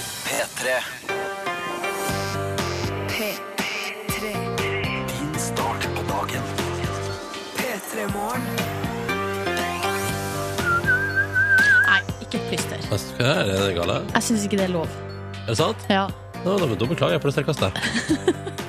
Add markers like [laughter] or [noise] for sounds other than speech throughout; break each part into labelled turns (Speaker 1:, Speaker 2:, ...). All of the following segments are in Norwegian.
Speaker 1: P3.
Speaker 2: P3
Speaker 1: Din start på dagen.
Speaker 2: P3 morgen
Speaker 3: Nei, ikke plyster.
Speaker 4: Hva er det, er det gale?
Speaker 3: Jeg syns ikke det er lov.
Speaker 4: Er det sant?
Speaker 3: Ja.
Speaker 4: Nå, da, da beklager jeg på det sterkeste.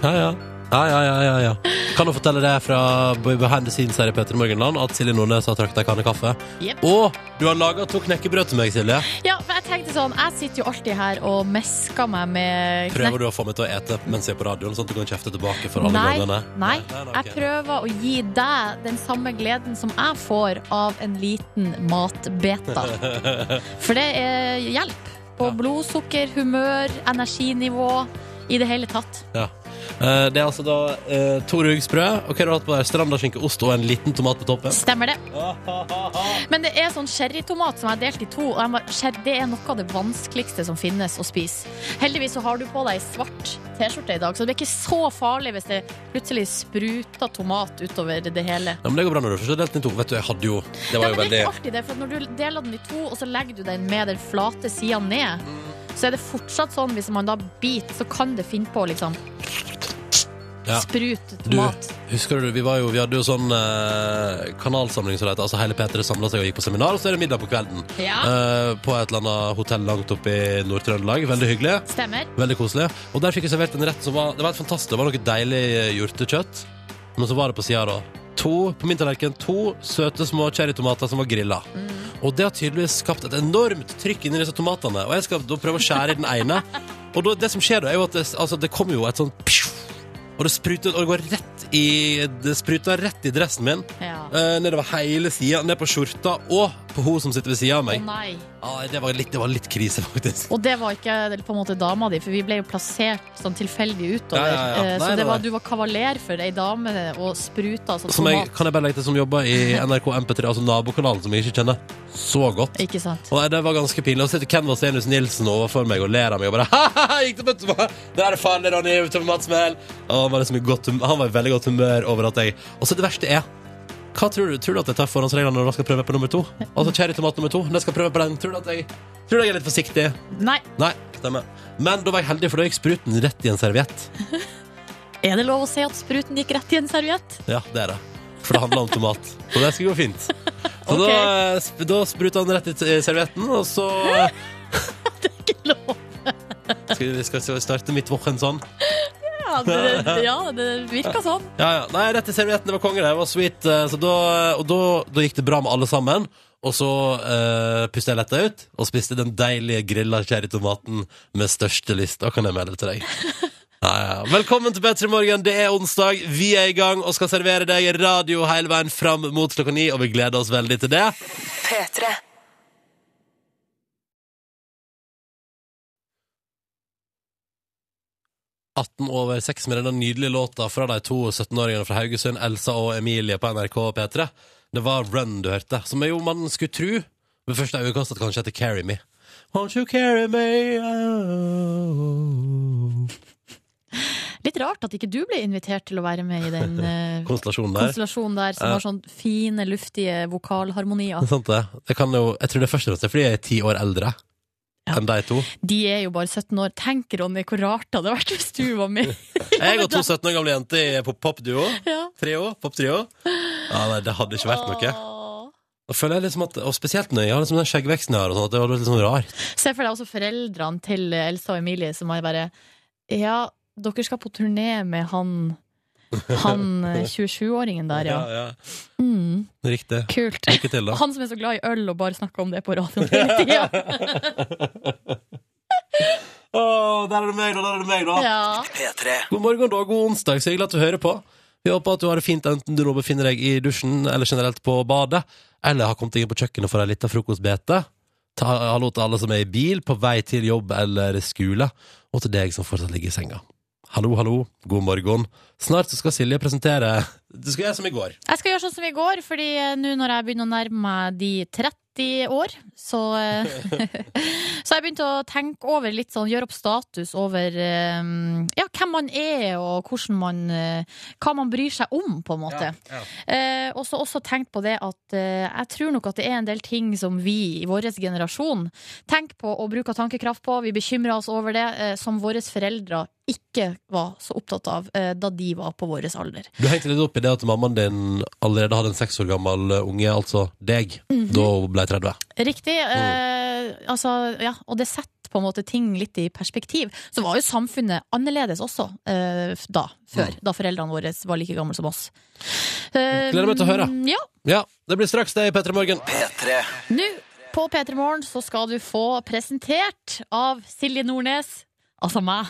Speaker 4: Ja, ja. Ja, ja, ja, ja, ja. Kan du fortelle det fra behind the scenes her i Petter Morgenland at Silje Nordnes har trakt deg kanne kaffe?
Speaker 3: Jep.
Speaker 4: Og du har laga to knekkebrød til meg, Silje.
Speaker 3: ja, for jeg tenkte sånn Jeg sitter jo alltid her og mesker meg med knek-
Speaker 4: Prøver du å få meg til å ete mens jeg er på radioen, sånn at du kan kjefte tilbake for alle
Speaker 3: Nei,
Speaker 4: gangene?
Speaker 3: nei.
Speaker 4: ok.
Speaker 3: Jeg prøver å gi deg den samme gleden som jeg får av en liten matbeta.
Speaker 4: [laughs]
Speaker 3: For det er hjelp på
Speaker 4: Ja.
Speaker 3: blodsukker, humør, energinivå. I det hele tatt.
Speaker 4: Ja. Eh, Det er altså da eh, to rugsprø, og hva har du hatt på der? Strandaskinke, ost og en liten tomat på toppen?
Speaker 3: Stemmer det. Men det er sånn sherrytomat som jeg har delt i to. Og jeg må, sher- det er noe av det vanskeligste som finnes å spise. Heldigvis så har du på deg svart T-skjorte i dag, så det blir ikke så farlig hvis det plutselig spruter tomat utover det hele.
Speaker 4: Ja, men det går bra når du først har delt den i to. Vet du, jeg hadde jo Det
Speaker 3: Nei, men
Speaker 4: var jo
Speaker 3: det
Speaker 4: veldig
Speaker 3: er ikke alltid det, for når du deler den i to, og så legger du den med den flate sida ned, så er det fortsatt sånn hvis man da biter, så kan det finne på å liksom
Speaker 4: Ja.
Speaker 3: sprute
Speaker 4: Du,
Speaker 3: tomat.
Speaker 4: husker du, vi, var jo, vi hadde jo sånn eh, kanalsamling som det heter. Altså hele P3 samla seg og gikk på seminar, og så er det middag på kvelden.
Speaker 3: Ja,
Speaker 4: Eh, på et eller annet hotell langt oppe i Nord-Trøndelag. Veldig hyggelig.
Speaker 3: stemmer.
Speaker 4: Veldig koselig. Og der fikk jeg servert en rett som var Det var helt fantastisk. Det var noe deilig eh, hjortekjøtt. Men så var det på sida, da. To, på min tallerken to søte små cherrytomater som var grilla. Og det har tydeligvis skapt et enormt trykk inni disse tomatene. Og jeg skal da prøve å skjære i den ene. Og da, det som skjer da, er jo at det, altså, det kommer jo et sånn pju, Og det spruter og det går rett i Det spruter rett i dressen min.
Speaker 3: Ja. Å
Speaker 4: eh, nedover hele sida, ned på skjorta og på hun som sitter ved sida av meg.
Speaker 3: nei.
Speaker 4: Ah, det, var litt, det var litt krise, faktisk.
Speaker 3: Og det var ikke på en måte dama di, for vi ble jo plassert sånn tilfeldig utover.
Speaker 4: Ja, ja, ja.
Speaker 3: Eh,
Speaker 4: Nei,
Speaker 3: Så
Speaker 4: nei,
Speaker 3: det var,
Speaker 4: nei.
Speaker 3: du var kavaler for ei dame og spruta altså
Speaker 4: som jeg,
Speaker 3: tomat.
Speaker 4: kan jeg bare legge til som jobber i NRK MP3, altså nabokanalen som jeg ikke kjenner så godt.
Speaker 3: Ikke sant?
Speaker 4: Og nei, Det var ganske pinlig. Og så sitter Canvas Enus Nilsen overfor meg og ler av meg og bare [laughs] «Hahaha, gikk det på tomat? Der er det farlig, Ronny! Tommy Madsmell!» Og han var, liksom i godt humør, han var i veldig godt humør over at jeg Og så det verste er Hva tror du? Tror du at jeg tar forhåndsreglene når jeg skal prøve på nummer to? Altså cherrytomat nummer to? Når jeg skal prøve på den, tror du at jeg Tror du jeg er litt forsiktig?
Speaker 3: Nei,
Speaker 4: Nei, stemmer. Men da var jeg heldig, for da gikk spruten rett i en serviett.
Speaker 3: er det lov å si at spruten gikk rett i en serviett?
Speaker 4: Ja, det er det. For det handler om tomat. Så det skulle gå fint. Så
Speaker 3: Ok.
Speaker 4: da, sp- da spruta han rett i t- i servietten, og så
Speaker 3: [laughs] Ikke lov.
Speaker 4: skal vi skal vi starte midtwochen sånn.
Speaker 3: Ja, det, ja, det virka sånn.
Speaker 4: Ja, ja. Nei, rett i servietten. Det var konge, det. Det var sweet. eh, Så da, og da, da gikk det bra med alle sammen. Og så uh, pusta jeg letta ut og spiste den deilige grilla cherrytomaten med største lyst. Da kan jeg melde til deg. Ja, ja. Velkommen til Petter i morgen. Det er onsdag. Vi er i gang og skal servere deg radio hele veien fram mot klokka ni, og vi gleder oss veldig til det.
Speaker 2: P3
Speaker 4: 18 over 6 med denne nydelige låta fra de to 17-åringene fra Haugesund, Elsa og Emilie på NRK P3. Det var Run du hørte, som jo man skulle tro ved første øyekast at kanskje heter Carry Me. Won't you carry me out?
Speaker 3: Litt rart at ikke du ble invitert til å være med i
Speaker 4: [laughs]
Speaker 3: den eh,
Speaker 4: Konstellasjonen der.
Speaker 3: konstellasjonen der som
Speaker 4: Ja.
Speaker 3: har sånn fine, luftige vokalharmonier.
Speaker 4: Sant det? Det kan jo, jeg tror det er først og fremst fordi jeg er ti år eldre
Speaker 3: Ja.
Speaker 4: enn de
Speaker 3: [laughs]
Speaker 4: to.
Speaker 3: De er jo bare 17 år. Tenk, Ronny, hvor rart det hadde vært hvis du var med.
Speaker 4: Jeg og to 17 år gamle jenter i pop- popduo.
Speaker 3: Ja.
Speaker 4: Trio. Poptrio. Ja, nei, det hadde ikke vært noe.
Speaker 3: Åh.
Speaker 4: Da føler jeg liksom at, Og spesielt når jeg har liksom den skjeggveksten jeg har, og sånn, at det hadde vært litt sånn rart.
Speaker 3: Se for deg også foreldrene til Elsa og Emilie som har bare Ja, dere skal på turné med han Han eh, 27-åringen der, ja.
Speaker 4: ja.
Speaker 3: Mm,
Speaker 4: Riktig.
Speaker 3: kult.
Speaker 4: Lykke til, da.
Speaker 3: Han som er så glad i øl og bare snakker om det på radioen hele tida.
Speaker 4: Åh, der er det meg, da! Der er det meg, da!
Speaker 3: Ja.
Speaker 1: P3.
Speaker 4: God morgen, da. God onsdag. Så hyggelig at du hører på. Vi håper at du har det fint, enten du nå befinner deg i dusjen eller generelt på badet, eller har kommet deg inn på kjøkkenet for ei lita frokostbete. Ta hallo til alle som er i bil, på vei til jobb eller skole, og til deg som fortsatt ligger i senga. Hallo, hallo, god morgen. Snart så skal Silje presentere Du skal gjøre som i går.
Speaker 3: Jeg skal gjøre sånn som i går, fordi eh, nå når jeg begynner å nærme meg de 30 år, så eh, [laughs] Så jeg begynte å tenke over litt sånn, gjøre opp status over eh, ja, hvem man er, og hvordan man, eh, hva man bryr seg om, på en måte.
Speaker 4: Ja,
Speaker 3: Eh, og så også tenkt på det at eh, jeg tror nok at det er en del ting som vi i vår generasjon tenker på og bruker tankekraft på, vi bekymrer oss over det, eh, som våre foreldre ikke var så opptatt av eh, da de var på vår alder.
Speaker 4: Du hengte litt opp i det at mammaen din allerede hadde en seks år gammel eh, unge, altså deg, da hun ble 30.
Speaker 3: Riktig.
Speaker 4: Mm.
Speaker 3: Eh, altså, ja, og det setter på en måte ting litt i perspektiv. Så var jo samfunnet annerledes også eh, f- da,
Speaker 4: Mm.
Speaker 3: før. Da foreldrene våre var like gamle som oss. Eh,
Speaker 4: Gleder meg til å høre.
Speaker 3: Ja,
Speaker 4: Ja, det blir straks det i P3 Morgen.
Speaker 1: P3
Speaker 3: Nå på P3 Morgen så skal du få presentert av Silje Nordnes, altså meg,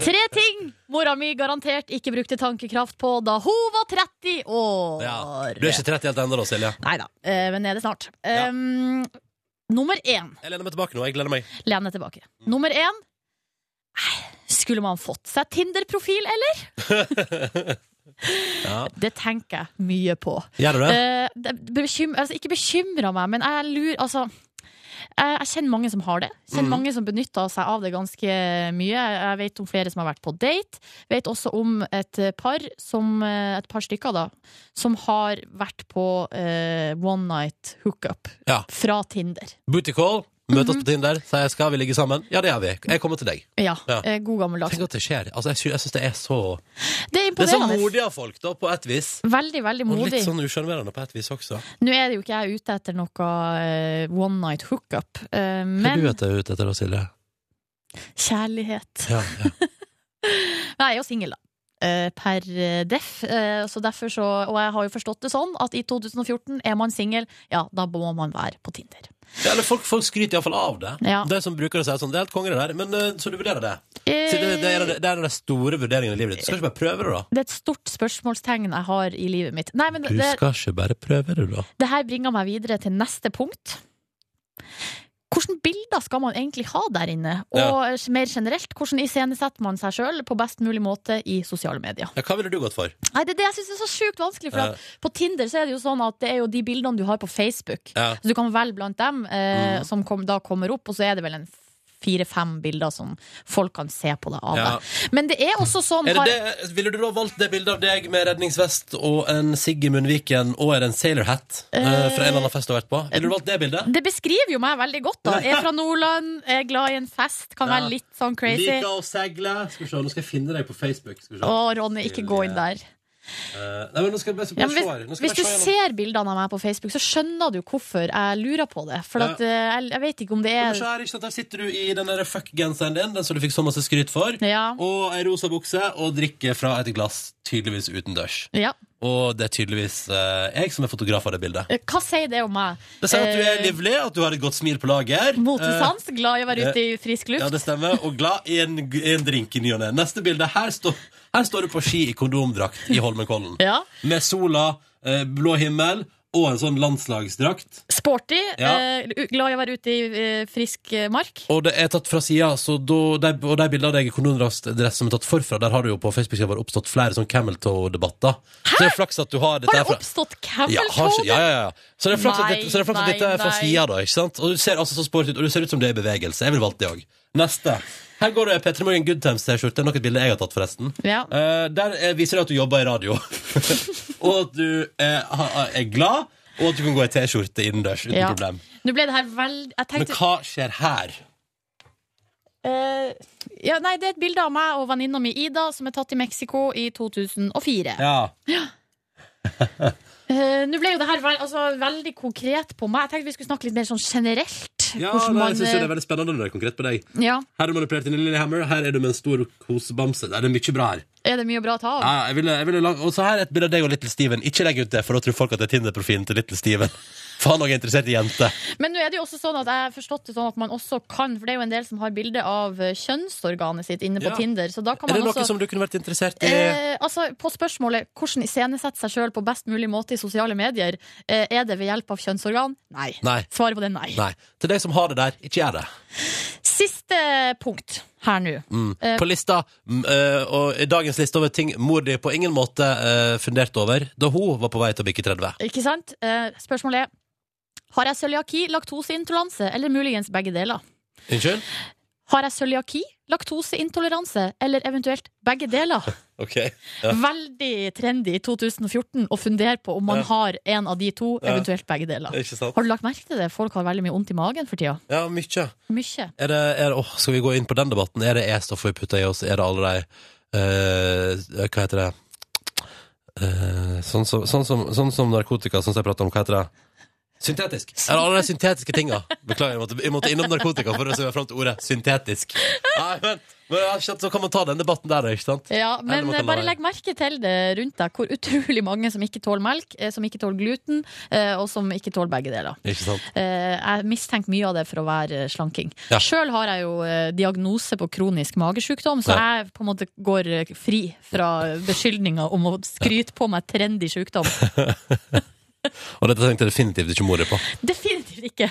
Speaker 3: tre ting mora mi garantert ikke brukte tankekraft på da hun var 30 år.
Speaker 4: Ja. Du er ikke 30 helt ennå, da, Silje.
Speaker 3: Neida, eh, men er det snart.
Speaker 4: Ja.
Speaker 3: Um, nummer én.
Speaker 4: Jeg lener meg tilbake nå. Jeg gleder meg.
Speaker 3: Len deg tilbake. Nummer én. eh, Skulle man fått seg Tinder-profil, eller?
Speaker 4: [laughs] Ja.
Speaker 3: Det tenker jeg mye på.
Speaker 4: Gjør du det?
Speaker 3: Eh, det bekym, altså, ikke bekymra meg, men jeg lurer altså, jeg, jeg kjenner mange som har det. Kjenner
Speaker 4: Mm.
Speaker 3: mange som benytter seg av det ganske mye. Jeg vet om flere som har vært på date. Vet også om et par, som, eh, et par stykker da, som har vært på eh, one night hookup
Speaker 4: Ja.
Speaker 3: fra Tinder.
Speaker 4: Booty call. Møtes på Tinder. Sier 'skal vi ligge sammen'? Ja, det gjør vi. Jeg kommer til deg.
Speaker 3: Ja,
Speaker 4: Ja.
Speaker 3: eh, god gammeldags.
Speaker 4: Tenk at det skjer. Altså, jeg sy- jeg syns det er så
Speaker 3: Det er
Speaker 4: Det er så
Speaker 3: imponerende.
Speaker 4: modig av folk, da, på et vis.
Speaker 3: Veldig, veldig
Speaker 4: Og litt
Speaker 3: modig.
Speaker 4: sånn usjarmerende på et vis også.
Speaker 3: Nå er det jo ikke jeg ute etter noe eh, one night hookup, eh,
Speaker 4: Hva er
Speaker 3: men
Speaker 4: du vet, ute etter da, Silje?
Speaker 3: kjærlighet.
Speaker 4: Ja, [laughs] ja.
Speaker 3: Men jeg er jo singel, da. eh, Per eh, def. eh, Så derfor så, og jeg har jo forstått det sånn at i 2014 er man singel, ja, da må man være på Tinder.
Speaker 4: Ja, eller folk, folk skryter iallfall av det.
Speaker 3: Ja.
Speaker 4: De som bruker det, sier sånn 'det er helt konge, det der', men eh, så du vurderer det.
Speaker 3: Eh,
Speaker 4: Så det, det, er, det er den store vurderingen i livet ditt. Du skal ikke bare prøve det, da.
Speaker 3: Eh, Det er et stort spørsmålstegn jeg har i livet mitt. Nei, men det,
Speaker 4: skal ikke bare prøve det, da.
Speaker 3: det her bringer meg videre til neste punkt. Hvilke bilder skal man egentlig ha der inne? Og eh,
Speaker 4: Ja.
Speaker 3: mer generelt, hvordan iscenesetter man seg sjøl på best mulig måte i sosiale medier?
Speaker 4: Ja, hva ville du gått for?
Speaker 3: Nei, det er det jeg syns er så sjukt vanskelig. For
Speaker 4: Ja.
Speaker 3: at på Tinder så er det jo sånn at det er jo de bildene du har på Facebook.
Speaker 4: Ja.
Speaker 3: Så du kan velge blant dem eh,
Speaker 4: Mm.
Speaker 3: som kom, da kommer opp, og så er det vel en fire-fem bilder som folk kan se på deg av
Speaker 4: Ja.
Speaker 3: deg. Men det er også sånn
Speaker 4: Er det
Speaker 3: har-
Speaker 4: det, ville du da valgt det bildet av deg med redningsvest og en sigg i munnviken og en sailor hat eh, fra en eller annen fest du har vært på? Ville du valgt det bildet?
Speaker 3: det beskriver jo meg veldig godt. da Er
Speaker 4: [laughs]
Speaker 3: fra Nordland, er glad i en fest, kan
Speaker 4: Ja.
Speaker 3: være litt sånn crazy.
Speaker 4: Liker å seile. Skal vi se, nå skal jeg finne deg på Facebook. Skal vi se.
Speaker 3: Å, Ronny, ikke gå inn der.
Speaker 4: Eh, nei, men nå skal jeg bare, bare
Speaker 3: Ja, men
Speaker 4: se her. Nå
Speaker 3: hvis,
Speaker 4: skal
Speaker 3: hvis du
Speaker 4: jeg se gjennom-
Speaker 3: ser bildene av meg på Facebook, så skjønner du hvorfor jeg lurer på det. For
Speaker 4: Ja.
Speaker 3: at, eh, jeg, jeg vet ikke om det
Speaker 4: Men
Speaker 3: er
Speaker 4: se her, ikke sant? Der sitter du i den der fuck-genseren din, den som du fikk så masse skryt for,
Speaker 3: Ja.
Speaker 4: og ei rosa bukse, og drikker fra et glass, tydeligvis utendørs.
Speaker 3: ja.
Speaker 4: Og det er tydeligvis eh, jeg som er fotograf av det bildet.
Speaker 3: Hva sier det om meg?
Speaker 4: Det sier at du er
Speaker 3: Eh,
Speaker 4: livlig, at du har et godt smil på lager. Eh,
Speaker 3: Motesans, glad i å være ute i frisk
Speaker 4: Ja,
Speaker 3: luft.
Speaker 4: det stemmer. Og glad i en, i en drink i ny og ne. Neste bilde. Her, står- her står du på ski i kondomdrakt i Holmenkollen.
Speaker 3: Ja.
Speaker 4: Med sola, eh, blå himmel og en sånn landslagsdrakt.
Speaker 3: Sporty,
Speaker 4: Ja.
Speaker 3: eh, u- glad i å være ute i eh, frisk eh, mark.
Speaker 4: Og det er tatt fra sida, så da, de, og de bildene av deg i kondomdrakt som er tatt forfra, der har det jo på Facebook-sida vår oppstått flere sånn Cameltoe-debatter. Så det er flaks at du har dette
Speaker 3: Har det
Speaker 4: her fra-
Speaker 3: oppstått
Speaker 4: Ja, har
Speaker 3: camel-tone?
Speaker 4: ikke, ja, ja, ja. Så det er flaks at
Speaker 3: Nei,
Speaker 4: dette, så det er flaks at
Speaker 3: nei,
Speaker 4: dette er fra
Speaker 3: nei.
Speaker 4: sida, da. Ikke sant? Og du ser altså så sporty ut, og du ser ut som det er i bevegelse. Jeg ville valgt det òg. Neste. Her går det P3 Morgen Good Times-T-skjorte. Nok et bilde jeg har tatt, forresten.
Speaker 3: Ja.
Speaker 4: Eh, der eh, viser det at du jobber i
Speaker 3: [laughs]
Speaker 4: radio, og at du eh, ha- er glad, og at du kan gå i T-skjorte innendørs uten
Speaker 3: Ja.
Speaker 4: problem.
Speaker 3: Nå ble det her veldig Jeg
Speaker 4: Men
Speaker 3: tenkte
Speaker 4: hva skjer her?
Speaker 3: eh, ja, Nei, det er et bilde av meg og venninna mi Ida som er tatt i Mexico i 2004.
Speaker 4: Ja.
Speaker 3: Eh, Nå ble jo det her vel- altså, veldig konkret på meg. Jeg tenkte vi skulle snakke litt mer sånn generelt.
Speaker 4: Ja,
Speaker 3: hvordan
Speaker 4: nei,
Speaker 3: man,
Speaker 4: jeg synes jo det
Speaker 3: eh,
Speaker 4: er veldig spennende når det er konkret på deg.
Speaker 3: ja,
Speaker 4: Her er du manipulert inn i Lillehammer, her er du med en stor kosebamse. Nei, Det er mye bra her.
Speaker 3: er det mye å bra å ta av?
Speaker 4: Ja, jeg ville, jeg ville lang... Og så her er et bilde av deg og Little Steven. Ikke legg ut det, for da tror folk at det er Tinder-profilen til Little Steven. [laughs] For han også er interessert i jenter.
Speaker 3: Men nå er det jo også sånn at jeg har forstått det sånn at man også kan For det er jo en del som har bilde av eh, kjønnsorganet sitt inne på
Speaker 4: Ja.
Speaker 3: Tinder. Så da kan
Speaker 4: Er det
Speaker 3: man
Speaker 4: noe
Speaker 3: også
Speaker 4: som du kunne vært interessert i?
Speaker 3: Eh, altså, på spørsmålet hvordan iscenesette seg sjøl på best mulig måte i sosiale medier, eh, er det ved hjelp av kjønnsorgan? Nei.
Speaker 4: Nei.
Speaker 3: Svaret på det er nei.
Speaker 4: Nei. Til deg som har det der, ikke gjør det.
Speaker 3: Siste punkt her nå.
Speaker 4: Mm.
Speaker 3: Eh.
Speaker 4: På lista, mm, eh, og i dagens liste over ting mor di på ingen måte eh, funderte over da hun var på vei til å bikke 30.
Speaker 3: Ikke sant? Eh, spørsmålet er har jeg cøliaki, laktoseintoleranse eller muligens begge deler?
Speaker 4: Unnskyld?
Speaker 3: Har jeg cøliaki, laktoseintoleranse eller eventuelt begge
Speaker 4: [laughs]
Speaker 3: deler?
Speaker 4: OK. Ja.
Speaker 3: Mm. Veldig trendy i 2014 å fundere på om man
Speaker 4: Ja.
Speaker 3: har en av de to,
Speaker 4: Ja.
Speaker 3: eventuelt begge deler.
Speaker 4: Ikke sant?
Speaker 3: Har du lagt merke til det? Folk har veldig mye vondt i magen for tida.
Speaker 4: Ja, mye.
Speaker 3: Mye.
Speaker 4: Er det, er det, åh, skal vi gå inn på den debatten? Er det E-stoffet vi putter i oss? Er det alle de eh, Hva heter det? Eh, sånn, som, sånn, som, sånn som narkotika, sånn som jeg prater om. Hva heter det? Syntetisk. Er det alle de syntetiske tinga? Beklager, jeg måtte, jeg måtte innom narkotika for å se fram til ordet syntetisk. Nei, men, men jeg har skjønt, Så kan man ta den debatten der, ikke sant?
Speaker 3: Ja, men
Speaker 4: må
Speaker 3: eh,
Speaker 4: ta
Speaker 3: bare
Speaker 4: lage.
Speaker 3: legg merke til det rundt deg, hvor utrolig mange som ikke tåler melk, eh, som ikke tåler gluten, eh, og som ikke tåler begge deler.
Speaker 4: Ikke sant?
Speaker 3: Eh, Jeg mistenker mye av det for å være eh, slanking.
Speaker 4: Ja.
Speaker 3: Sjøl har jeg jo eh, diagnose på kronisk magesjukdom, så
Speaker 4: Ja.
Speaker 3: jeg på en måte går eh, fri fra beskyldninger om å skryte på meg trendy
Speaker 4: [laughs]
Speaker 3: sjukdom.
Speaker 4: Og dette tenkte jeg definitivt ikke mor di på.
Speaker 3: Definitivt ikke.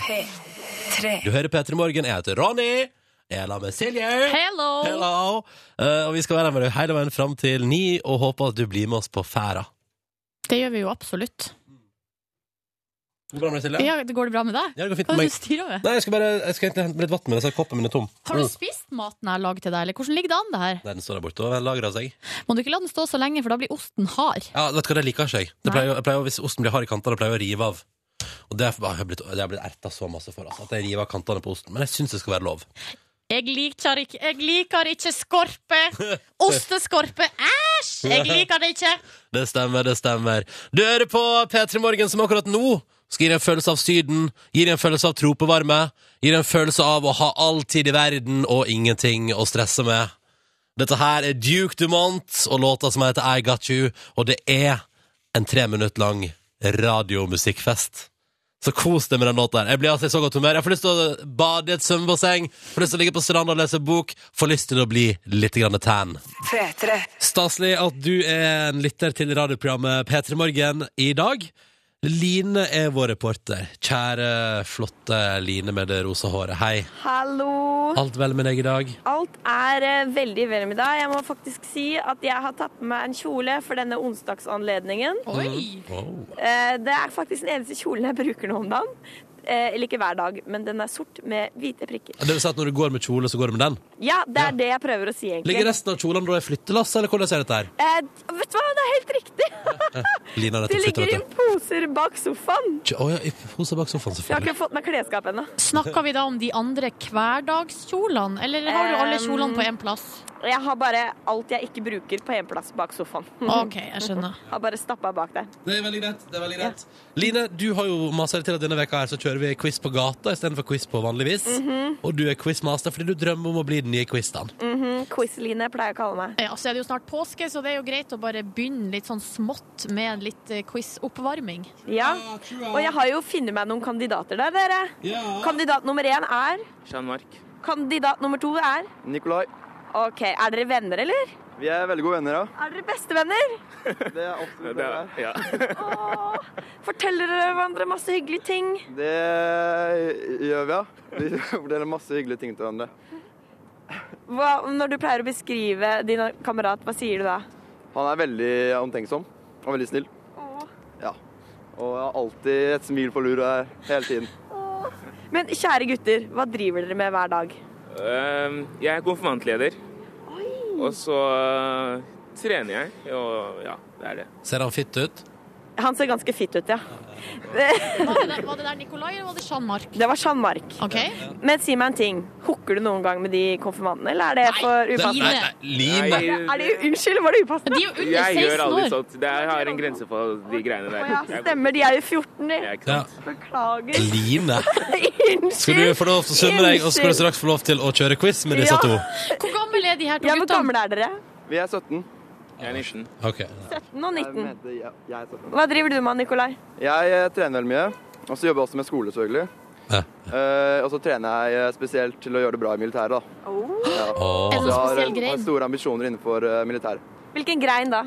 Speaker 1: P3.
Speaker 4: Du hører P3 Morgen. Jeg heter Ronny. Jeg er sammen med Silje.
Speaker 3: Hello!
Speaker 4: Hello! Eh, og vi skal være med deg hele veien fram til ni, og håper at du blir med oss på ferda.
Speaker 3: Det gjør vi jo absolutt.
Speaker 4: Går det bra med deg, Silje?
Speaker 3: Ja, det går det bra med deg?
Speaker 4: Ja, det går fint
Speaker 3: Hva er det
Speaker 4: med
Speaker 3: du
Speaker 4: meg.
Speaker 3: styrer med?
Speaker 4: Nei, jeg skal bare jeg skal egentlig hente litt vann, men jeg ser koppen min er tom.
Speaker 3: Har du
Speaker 4: Mm.
Speaker 3: spist maten jeg har lagd til deg, eller hvordan ligger det an det her?
Speaker 4: Nei, den står der borte og vel lagrer seg.
Speaker 3: Må du ikke la den stå så lenge, for da blir osten hard.
Speaker 4: Ja, vet du hva, det liker ikke jeg. Det
Speaker 3: Nei.
Speaker 4: pleier, jo- jeg pleier, jo- hvis osten blir hard i kantene, pleier jeg å rive av. Og det er- jeg har blitt, det har blitt erta så masse for, altså, at jeg river av kantene på osten. Men jeg syns det skal være lov.
Speaker 3: Jeg liker ikke, jeg liker ikke skorpe! Osteskorpe! Æsj! Jeg liker det ikke!
Speaker 4: Det stemmer, det stemmer. Du hører på P3 Morgen, som akkurat nå skal gi deg en følelse av Syden, gir deg en følelse av tropevarme, gir deg en følelse av å ha all tid i verden og ingenting å stresse med. Dette her er Duke Dumont og låta som heter I Got You, og det er en tre minutt lang radiomusikkfest. Så kos deg med den låta her. Jeg blir altså i så godt humør. Jeg får lyst til å bade i et svømmebasseng, får lyst til å ligge på stranda og lese bok, får lyst til å bli litt grann tan.
Speaker 1: P3.
Speaker 4: Staselig at du er en lytter til radioprogrammet P3 Morgen i dag. Line er vår reporter. Kjære, flotte Line med det rosa håret. Hei.
Speaker 2: Hallo!
Speaker 4: Alt vel med deg i dag?
Speaker 2: Alt er eh, veldig vel med deg. Jeg må faktisk si at jeg har tatt på meg en kjole for denne onsdagsanledningen.
Speaker 3: Oi!
Speaker 4: Oh.
Speaker 2: Eh, Det er faktisk den eneste kjolen jeg bruker nå om dagen. Eh, Eller ikke hver dag, men den er sort med hvite prikker.
Speaker 4: Det vil si at når du går med kjole, så går du med den?
Speaker 2: Ja, det er det jeg prøver å si,
Speaker 4: Ligger
Speaker 2: egentlig.
Speaker 4: resten av kjolene da i flyttelass, eller hvordan er dette her?
Speaker 2: Eh, Vet du hva, det er helt
Speaker 4: [laughs]
Speaker 2: riktig!
Speaker 4: Line har
Speaker 2: Det
Speaker 4: nettopp flyttet,
Speaker 2: ligger i
Speaker 4: vet du.
Speaker 2: poser bak sofaen.
Speaker 4: Tja, Å ja, i posen bak sofaen,
Speaker 2: Jeg har
Speaker 4: selvfølgelig.
Speaker 2: ikke fått meg klesskap ennå.
Speaker 3: Snakker vi da om de andre hverdagskjolene, eller har du alle
Speaker 2: Um,
Speaker 3: kjolene på én plass?
Speaker 2: Jeg har bare alt jeg ikke bruker, på én plass bak sofaen. [laughs]
Speaker 3: OK, jeg skjønner.
Speaker 2: Har bare stappa bak der.
Speaker 4: Det er veldig greit. det er veldig greit. Line, du har jo masa deg til at denne veka her så kjører vi quiz på gata istedenfor quiz på vanlig vis. Og du er quizmaster fordi du drømmer om å bli den nye quizdagen.
Speaker 2: Mhm. Mm, Quiz-Line pleier jeg å kalle meg.
Speaker 3: Ja, så er Eh, altså, det jo snart påske, så det er jo greit å bare begynne litt sånn smått med litt eh, quiz-oppvarming.
Speaker 2: Ja.
Speaker 4: Ah, true.
Speaker 2: Og jeg har jo funnet meg noen kandidater der, dere.
Speaker 4: Ja.
Speaker 2: Kandidat nummer én er
Speaker 5: Jean Marc.
Speaker 2: Kandidat nummer to er
Speaker 5: Nikolai.
Speaker 2: OK, er dere venner, eller?
Speaker 5: Vi er veldig gode venner, ja.
Speaker 2: Er dere bestevenner?
Speaker 5: Det er absolutt det. Er.
Speaker 2: Åh, Forteller dere hverandre masse hyggelige ting?
Speaker 5: Det gjør vi, ja. Vi fordeler masse hyggelige ting til hverandre.
Speaker 2: Hva, når du pleier å beskrive din kamerat, hva sier du da?
Speaker 5: Han er veldig omtenksom og veldig snill. Ja. Og jeg har alltid et smil på lur her hele tiden.
Speaker 2: Men kjære gutter, hva driver dere med hver dag?
Speaker 6: Ehm, Jeg er konfirmantleder. Og så øh, trener jeg, og ja, det er det.
Speaker 4: Ser han fitt ut?
Speaker 2: Han ser ganske fitt ut, ja.
Speaker 3: Var det der, var det der Nikolai, eller var det Jean Marc?
Speaker 2: Det var Jean Marc.
Speaker 3: OK?
Speaker 2: Men si meg en ting. Hooker du noen gang med de konfirmantene, eller er det for
Speaker 4: Det-
Speaker 2: upassende?
Speaker 3: Line.
Speaker 4: Nei, nei, Line!
Speaker 2: Er det, unnskyld, var det
Speaker 3: Men
Speaker 2: upassende?
Speaker 3: de er jo
Speaker 6: Jeg gjør
Speaker 3: under
Speaker 6: aldri
Speaker 3: 16 år!
Speaker 6: sånn. sånt. Det er- Jeg har en grense for de greiene der.
Speaker 2: Å ja, stemmer, de er jo 14, de.
Speaker 6: Ja, ikke
Speaker 4: Ja.
Speaker 6: sant?
Speaker 2: Beklager.
Speaker 4: Line.
Speaker 2: Unnskyld.
Speaker 4: Skal du få lov til å svømme deg, og så skal du straks få lov til å kjøre quiz med disse
Speaker 2: Ja.
Speaker 4: to?
Speaker 3: Hvor gamle er de her to
Speaker 2: Ja, Hvor
Speaker 3: guttene?
Speaker 2: gamle er dere?
Speaker 5: Vi er 17.
Speaker 6: Jeg er 19.
Speaker 4: Ok.
Speaker 2: 17 og
Speaker 5: Jeg
Speaker 2: 19.
Speaker 5: mente jeg, jeg er 17.
Speaker 2: Hva driver du med, Nikolai?
Speaker 5: Jeg eh, trener veldig mye, og så jobber jeg også med skole, selvfølgelig.
Speaker 4: Ja.
Speaker 5: Eh, og så trener jeg eh, spesielt til å gjøre det bra i militæret, da.
Speaker 4: Åh.
Speaker 3: Er det
Speaker 5: Så
Speaker 3: noen
Speaker 5: jeg har,
Speaker 3: spesiell
Speaker 5: eh, har
Speaker 3: grein?
Speaker 5: store ambisjoner innenfor eh, militæret.
Speaker 2: Hvilken grein da?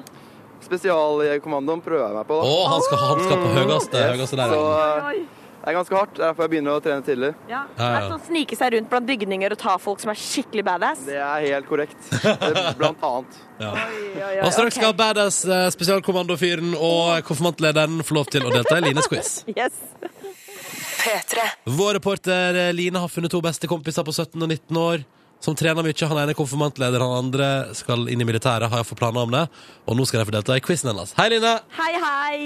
Speaker 5: Spesialkommandoen prøver jeg meg på, da.
Speaker 4: Åh, han skal, han skal på høyeste, høyeste der.
Speaker 5: Så
Speaker 4: ja.
Speaker 5: eh, det er ganske hardt. Det er derfor jeg begynner å trene tidlig.
Speaker 2: Ja. Det
Speaker 4: Ja, ja.
Speaker 2: er sånn snike seg rundt blant bygninger og ta folk som er skikkelig badass.
Speaker 5: Det er helt korrekt. Det- Blant annet.
Speaker 4: Og straks skal badass eh, spesialkommandofyren og konfirmantlederen få lov til å delta i Lines quiz.
Speaker 2: Yes.
Speaker 7: P3.
Speaker 4: Vår reporter eh, Line har funnet to beste kompiser på 17 og 19 år som trener mye. Han ene er konfirmantleder, han andre skal inn i militæret, har jeg fått planer om det. Og nå skal de få delta i quizen hennes. Hei, Line!
Speaker 2: Hei, hei!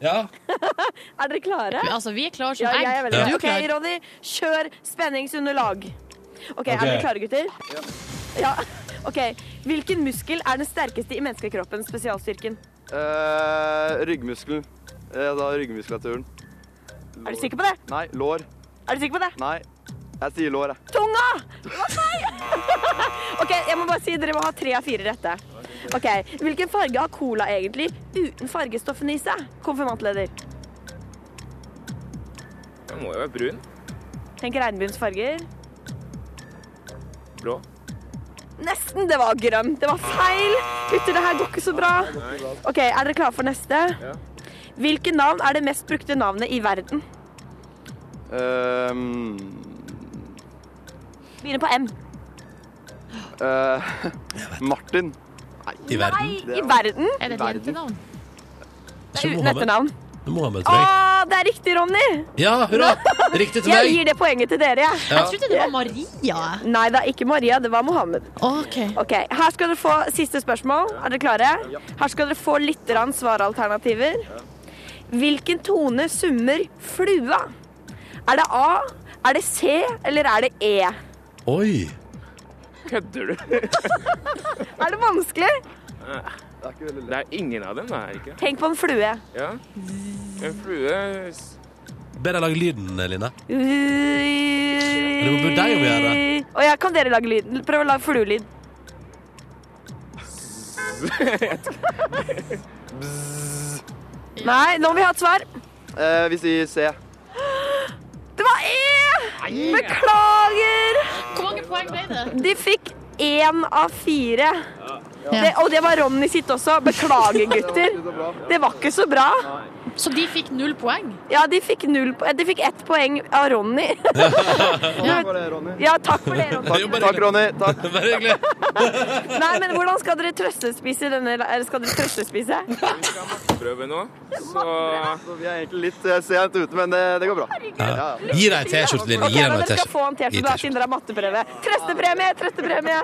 Speaker 4: Ja.
Speaker 2: Er dere klare?
Speaker 3: Altså, vi er klare som
Speaker 2: Ja,
Speaker 3: egg.
Speaker 2: jeg er
Speaker 3: Du
Speaker 2: veldig
Speaker 3: er
Speaker 2: klar.
Speaker 3: klar.
Speaker 2: OK, Ronny, kjør spenningsunderlag. OK, er dere klare, gutter? Ja. OK. Hvilken muskel er den sterkeste i menneskekroppen? Spesialstyrken.
Speaker 5: Eh, ryggmuskelen. Eh, da ryggmuskulaturen.
Speaker 2: Er du sikker på det?
Speaker 5: Nei. Lår.
Speaker 2: Er du sikker på det?
Speaker 5: Nei. Jeg sier lår, jeg.
Speaker 2: Tunga! Det var feil! [laughs] OK, jeg må bare si dere må ha tre av fire rette. OK. Hvilken farge har cola egentlig uten fargestoffene i seg? Konfirmantleder.
Speaker 6: Den må jo være brun.
Speaker 2: Tenk regnbuens farger.
Speaker 6: Blå.
Speaker 2: Nesten. Det var grønn. Det var feil. Gutter, det her går ikke så bra. OK, er dere klare for neste?
Speaker 6: Ja.
Speaker 2: Hvilket navn er det mest brukte navnet i verden?
Speaker 5: Ehm,
Speaker 2: Begynner på M.
Speaker 5: eh, [laughs] Martin.
Speaker 4: I verden.
Speaker 2: Nei, i verden?
Speaker 3: Er det et
Speaker 5: Verden.
Speaker 3: jentenavn?
Speaker 2: Det
Speaker 4: Så
Speaker 2: er uten
Speaker 4: Mohammed-
Speaker 2: etternavn.
Speaker 4: Mohammed,
Speaker 2: Å,
Speaker 4: tror jeg.
Speaker 2: det er riktig, Ronny!
Speaker 4: Ja, hurra! Riktig til
Speaker 2: Jeg
Speaker 4: meg.
Speaker 2: gir det poenget til dere, jeg.
Speaker 4: Ja.
Speaker 3: Jeg trodde det var Maria.
Speaker 2: Nei da, ikke Maria, det var Mohammed.
Speaker 3: OK.
Speaker 2: Ok, Her skal dere få siste spørsmål. Er dere klare? Her skal dere få litt grann svaralternativer. Hvilken tone summer flua? Er det A, er det C, eller er det E?
Speaker 4: Oi.
Speaker 6: Kødder du? [laughs]
Speaker 2: Er det vanskelig?
Speaker 5: Det er ikke veldig lett.
Speaker 6: Det er ingen av dem, det er ikke det?
Speaker 2: Tenk på en flue.
Speaker 6: Ja. En flue s-
Speaker 4: Be deg lage lyden, Line.
Speaker 2: Det
Speaker 4: må deg om å gjøre.
Speaker 2: Og ja, kan dere lage lyden? Prøv å lage fluelyd. Nei, nå må vi ha et svar.
Speaker 5: Eh, vi sier C.
Speaker 2: Det var E! Beklager!
Speaker 3: Hvor mange poeng ble det?
Speaker 2: De fikk én av fire. Det, og det var Ronny sitt også. Beklager, gutter.
Speaker 5: Så bra.
Speaker 2: Det var ikke så bra.
Speaker 3: Så de fikk null poeng?
Speaker 2: Ja, de fikk, null, po- de fikk ett poeng av Ronny. [laughs]
Speaker 5: Takk for det, Ronny.
Speaker 2: Ja, takk for det, Ronny.
Speaker 4: Jo, bare
Speaker 5: Takk,
Speaker 4: hyggelig.
Speaker 5: Ronny. Takk. [laughs]
Speaker 4: Bare hyggelig.
Speaker 2: Nei, men hvordan skal dere trøstespise denne Eller skal dere trøstespise?
Speaker 6: prøve nå. Så
Speaker 5: Så vi er egentlig litt eh, sent ute, men det, det går bra.
Speaker 4: Ja. Gi deg en T-skjorte, Line.
Speaker 2: Ok,
Speaker 4: Gi deg
Speaker 2: men
Speaker 4: en
Speaker 2: dere skal få en
Speaker 4: Gi
Speaker 2: T-skjorte da,
Speaker 4: deg en
Speaker 2: siden dere har matteprøve. Trøstepremie!
Speaker 4: [laughs]
Speaker 2: Trøstepremie!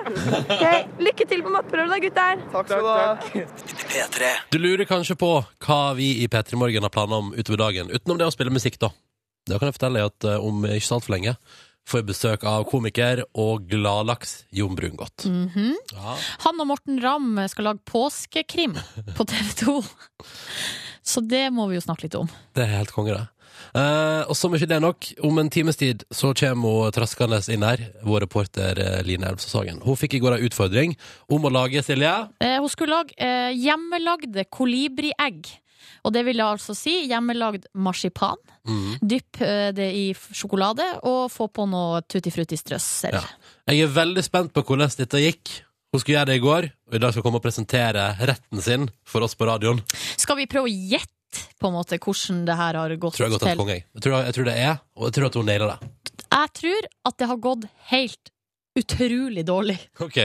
Speaker 2: Ok, lykke til på matteprøve, da, gutter.
Speaker 5: Takk skal du ha.
Speaker 1: P3.
Speaker 4: Du lurer kanskje på hva vi i P3 Morgen har planer om utover dagen, utenom det å spille musikk, da. Da kan jeg fortelle deg at eh, om ikke så altfor lenge får jeg besøk av komiker og gladlaks Jon Brungot.
Speaker 2: Mhm.
Speaker 4: ja.
Speaker 3: Han og Morten Ramm skal lage påskekrim på TV 2. Så det må vi jo snakke litt om.
Speaker 4: Det er helt konge, det. Eh, og som ikke det er nok, om en times tid så kommer hun traskende inn her, vår reporter eh, Line Elvsås Hagen. Hun fikk i går en utfordring om å lage Silje.
Speaker 3: Eh, hun skulle lage eh, hjemmelagde kolibriegg. Og det vil altså si hjemmelagd marsipan.
Speaker 4: Mhm.
Speaker 3: Dypp eh, det i f- sjokolade og få på noe tutti frutti strøsser.
Speaker 4: Ja. Jeg er veldig spent på hvordan dette gikk. Hun skulle gjøre det i går, og i dag skal hun komme og presentere retten sin for oss på radioen.
Speaker 3: Skal vi prøve å gjette på en måte hvordan det her har gått
Speaker 4: Tror jeg godt at
Speaker 3: til?
Speaker 4: konge, jeg. Jeg tror, jeg tror det er, og jeg tror at hun nailer det.
Speaker 3: Jeg tror at det har gått helt utrolig dårlig.
Speaker 4: Ok,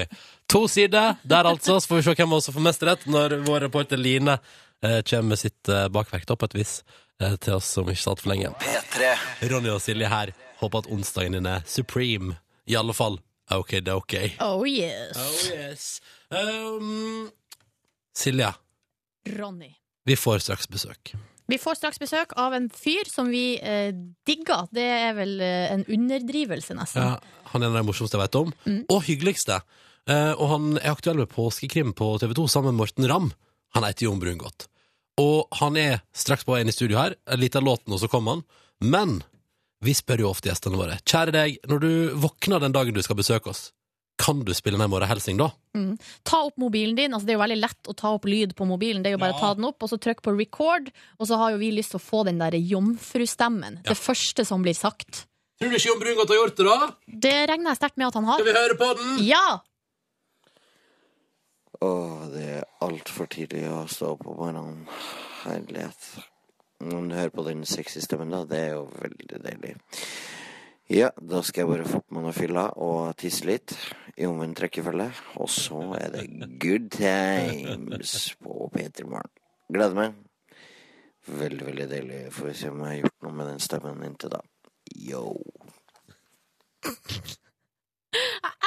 Speaker 4: To sider der, altså. Så får vi se hvem av oss som får mest rett når vår reporter Line eh, kommer med sitt eh, bakverk da, på et vis eh, til oss som ikke satt for lenge.
Speaker 1: P3.
Speaker 4: Ronny og Silje her. Håper at onsdagen din er supreme. I alle fall OK, det er OK.
Speaker 3: Oh yes.
Speaker 4: yes. Um, Silje,
Speaker 3: Ronny.
Speaker 4: vi får straks besøk.
Speaker 3: Vi får straks besøk av en fyr som vi eh, digger. Det er vel eh, en underdrivelse, nesten.
Speaker 4: Ja, han er en av de morsomste jeg vet om, og hyggeligste. Eh, og han er aktuell med påskekrim på TV 2 sammen med Morten Ramm. Han heter Jon Brungot. Og han er straks på en i studio her. En liten låt nå, så kommer han. Men vi spør jo ofte gjestene våre. Kjære deg, når du våkner den dagen du skal besøke oss, kan du spille Nei, Måre Helsing da?
Speaker 3: Ta opp mobilen din. Altså, det er jo veldig lett å ta opp lyd på mobilen. Det er jo bare å ta den opp, og så trykk på record, og så har jo vi lyst til å få den der jomfrustemmen. Det første som blir sagt.
Speaker 4: Tror du ikke Jon Brungot har gjort det, da?
Speaker 3: Det regner jeg sterkt med at han har.
Speaker 4: Skal vi høre på den?
Speaker 3: Ja!
Speaker 8: Åh, det er altfor tidlig å stå opp om morgenen. Herlighet. Når du hører på den sexy stemmen, da, det er jo veldig deilig. Ja, da skal jeg bare få på meg noe fylla og tisse litt i omvendt rekkefølge. Og så er det good times på P3 Morgen. Gleder meg.
Speaker 9: Veldig, veldig deilig. Får vi se om jeg har gjort noe med den stemmen inntil da. Yo.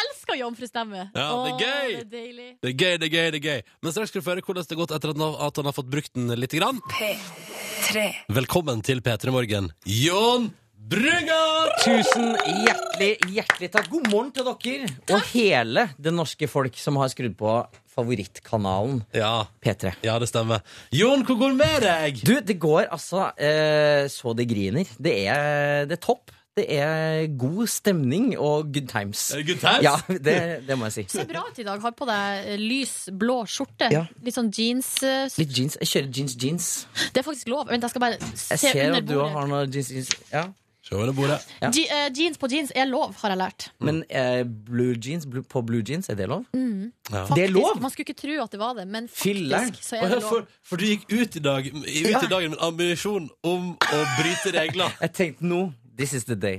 Speaker 3: Elsker jomfru stemme.
Speaker 4: Ja, det er
Speaker 3: Åh,
Speaker 4: gøy!
Speaker 3: Det er deilig.
Speaker 4: Det er gøy, det er gøy, det er gøy. Men straks skal du få høre hvordan det har gått etter at han har- at han har fått brukt den litt. Grann.
Speaker 2: P3.
Speaker 4: Velkommen til P3 Morgen, Jon Brygger!
Speaker 10: Tusen hjertelig, hjertelig takk. God morgen til dere og hele det norske folk som har skrudd på favorittkanalen
Speaker 4: Ja,
Speaker 10: P3.
Speaker 4: ja, det stemmer. Jon, hvor går det med deg?
Speaker 10: Du, det går altså eh, så det griner. Det er, det er topp. Det er god stemning og good times.
Speaker 4: Er det Good times?
Speaker 10: Ja, det, det må jeg si.
Speaker 3: Ser bra ut i dag. Har på deg eh, lys blå skjorte.
Speaker 10: Ja.
Speaker 3: Litt sånn jeans. eh,
Speaker 10: Litt jeans. Jeg kjører jeans-jeans.
Speaker 3: Det er faktisk lov. Vent, jeg skal bare se
Speaker 10: Jeg ser
Speaker 3: under
Speaker 10: at du
Speaker 3: bordet.
Speaker 10: har noe jeans-jeans. Ja.
Speaker 4: Se under bordet.
Speaker 10: ja.
Speaker 3: Je- eh, jeans på jeans er lov, har jeg lært.
Speaker 10: Men eh, blue jeans blue, på blue jeans, er det lov?
Speaker 4: Ja.
Speaker 10: Det er lov!
Speaker 3: Man skulle ikke tro at det var det, men faktisk
Speaker 10: Filler'n.
Speaker 3: så er det lov.
Speaker 4: For, for du gikk ut i dag ut i dagen med en ambisjon om å bryte regler.
Speaker 10: Jeg tenkte nå This is the day.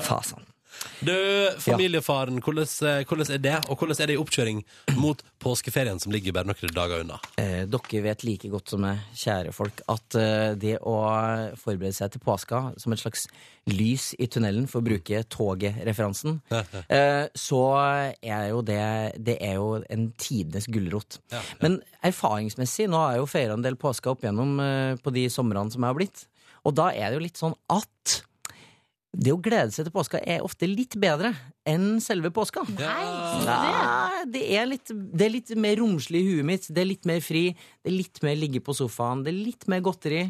Speaker 10: Fasan.
Speaker 4: Du, familiefaren, hvordan, eh, hvordan er det? Og hvordan er det i oppkjøring mot påskeferien som ligger bare noen dager unna?
Speaker 10: Eh, dere vet like godt som meg, kjære folk, at eh, det å forberede seg til påska som et slags lys i tunnelen, for å bruke toget-referansen, eh, så er jo det Det er jo en tidenes gulrot. Men erfaringsmessig, nå har jeg jo feira en del påska opp igjennom eh, på de somrene som jeg har blitt, og da er det jo litt sånn at det å glede seg til påska er ofte litt bedre enn selve påska. Nei, det er litt, det er litt mer romslig i huet mitt. Det er litt mer fri. Det er litt mer ligge på sofaen. Det er litt mer godteri.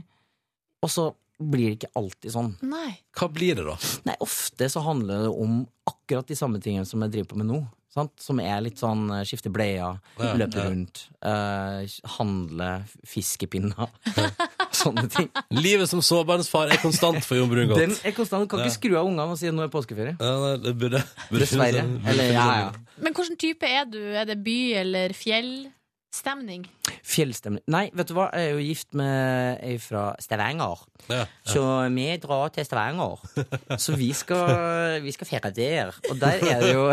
Speaker 10: Og så blir det ikke alltid sånn.
Speaker 3: Nei.
Speaker 4: Hva blir det, da?
Speaker 10: Nei, ofte så handler det om akkurat de samme tingene som jeg driver på med nå. Sant? Som er litt sånn eh, skifte bleier,
Speaker 4: Ja,
Speaker 10: løpe
Speaker 4: ja.
Speaker 10: rundt, eh, handle fiskepinner. [laughs] Sånne ting.
Speaker 4: Livet som sårbarnsfar er konstant for Jon Brungot.
Speaker 10: Den er konstant. Du kan ikke skru av ungene og si nå er påskeferie.
Speaker 4: Ja, nei, det burde, burde
Speaker 10: [laughs] Dessverre.
Speaker 4: finnes en- burde
Speaker 10: Eller,
Speaker 4: finnes
Speaker 10: ja,
Speaker 4: en-
Speaker 10: ja.
Speaker 3: Men hvilken type er du? Er det by- eller fjellstemning?
Speaker 10: Fjellstemning Nei, vet du hva? Jeg er jo gift med ei fra Stavanger.
Speaker 4: Ja,
Speaker 10: Så vi drar til
Speaker 4: [laughs]
Speaker 10: Stavanger. Så vi skal, vi skal feire der. Og der er det
Speaker 4: [laughs]
Speaker 10: jo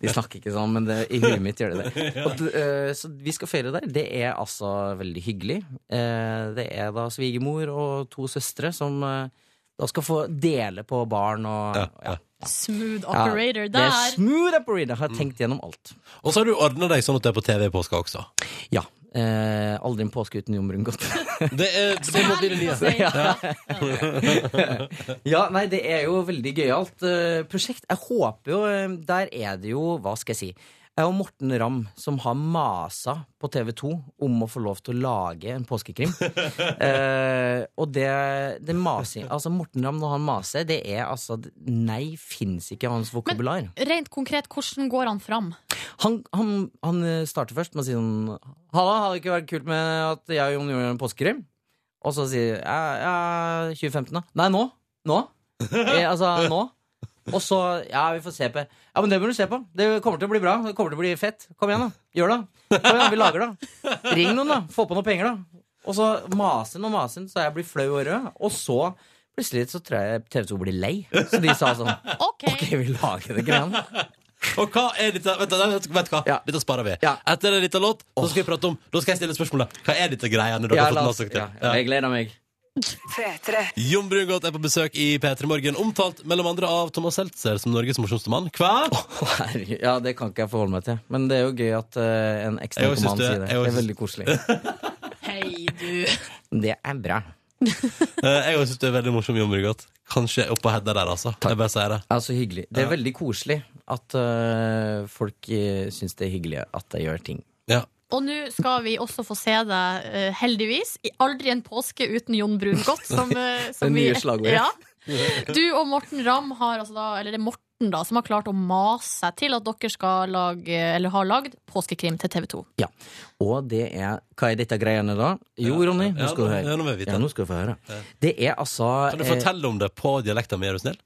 Speaker 10: De snakker ikke sånn, men det, i huet mitt gjør det
Speaker 4: [laughs]
Speaker 10: det. Og, d- eh, så vi skal feire der. Det er altså veldig hyggelig. Eh, Det er da svigermor og to søstre som eh, da skal få dele på barn og
Speaker 4: Ja, ja.
Speaker 3: Smooth
Speaker 10: Ja,
Speaker 3: operator
Speaker 10: det er
Speaker 3: der.
Speaker 10: smooth operator.
Speaker 4: Mm.
Speaker 10: Har tenkt gjennom alt.
Speaker 4: Og så har du ordna deg sånn at det er på TV i påska også.
Speaker 10: Ja. Eh, aldri en påske uten Jon
Speaker 4: [laughs]
Speaker 10: Brungot.
Speaker 4: Det, er, det må bli det nye.
Speaker 3: Ja.
Speaker 10: [laughs] Ja, nei, det er jo veldig gøyalt eh, prosjekt. Jeg håper jo eh, Der er det jo, hva skal jeg si Jeg og Morten Ramm, som har masa på TV 2 om å få lov til å lage en påskekrim. Eh, og det, det masing Altså, Morten Ramm når han maser, det er altså Nei, fins ikke hans vokabular.
Speaker 3: Rent konkret, hvordan går han fram?
Speaker 10: Han, han, han eh, starter først med å si sånn Halla, hadde det ikke vært kult med at jeg og Jon gjorde en påskerim? Og så sier jeg ja, 2015, da. Nei, nå. Nå. Eh, altså, nå. Og så Ja, vi får se på Ja, men det må du se på. Det kommer til å bli bra. Det kommer til å bli fett. Kom igjen, da. Gjør det. Kom igjen, vi lager det. Ring noen, da. Få på noen penger, da. Og så masen og masen, så jeg blir flau og rød. Og så plutselig så tror jeg TV 2 blir lei. Så de sa sånn
Speaker 3: OK.
Speaker 10: OK, vi lager det greiene.
Speaker 4: Og hva er dette? Vent, da, vet, vet du hva?
Speaker 10: Ja.
Speaker 4: Dette sparer vi.
Speaker 10: Ja.
Speaker 4: Etter en liten låt så skal vi prate om Da skal jeg stille spørsmålet Hva er dette greiene du
Speaker 10: Ja,
Speaker 4: har fått
Speaker 10: la oss,
Speaker 4: masse
Speaker 10: ja,
Speaker 4: til?
Speaker 10: ja, jeg gleder meg.
Speaker 2: P3.
Speaker 4: Jon Brungot er på besøk i P3 Morgen, omtalt mellom andre av Thomas Seltzer som Norges morsomste mann. Hva?
Speaker 10: Herregud, Ja, det kan ikke jeg forholde meg til. Men det er jo gøy at eh, en ekstra
Speaker 4: Jeg også synes
Speaker 10: narkoman
Speaker 4: det-
Speaker 10: sier det.
Speaker 4: jeg
Speaker 10: Det
Speaker 4: også
Speaker 10: er veldig koselig.
Speaker 4: [laughs]
Speaker 3: Hei, du.
Speaker 10: Det er bra.
Speaker 4: Eh, Jeg også synes du er veldig morsom, Jon Brungot. Kanskje oppå Hedda der, altså. Jeg bare sier det.
Speaker 10: Ja, så hyggelig. Det er veldig koselig at eh, folk uh, syns det er hyggelig at jeg gjør ting.
Speaker 4: Ja.
Speaker 3: Og nå skal vi også få se deg, eh, heldigvis, i Aldri en påske uten Jon Brungot. Som, eh,
Speaker 10: [laughs]
Speaker 3: som
Speaker 10: Det nye
Speaker 3: vi-
Speaker 10: slagordet.
Speaker 3: Ja. Du og Morten Ramm har altså da, eller det er Morten da, som har klart å mase seg til at dere skal lage, eller har lagd påskekrim til TV 2.
Speaker 10: Ja. Og det er Hva er dette greiene, da? Jo, Ronny, nå
Speaker 4: ja,
Speaker 10: skal du
Speaker 4: nå-
Speaker 10: høre.
Speaker 4: ja, nå må jeg vite.
Speaker 10: Ja, nå skal du få høre. Det er altså
Speaker 4: Kan du
Speaker 10: eh,
Speaker 4: fortelle om det på dialekten min, er du snill?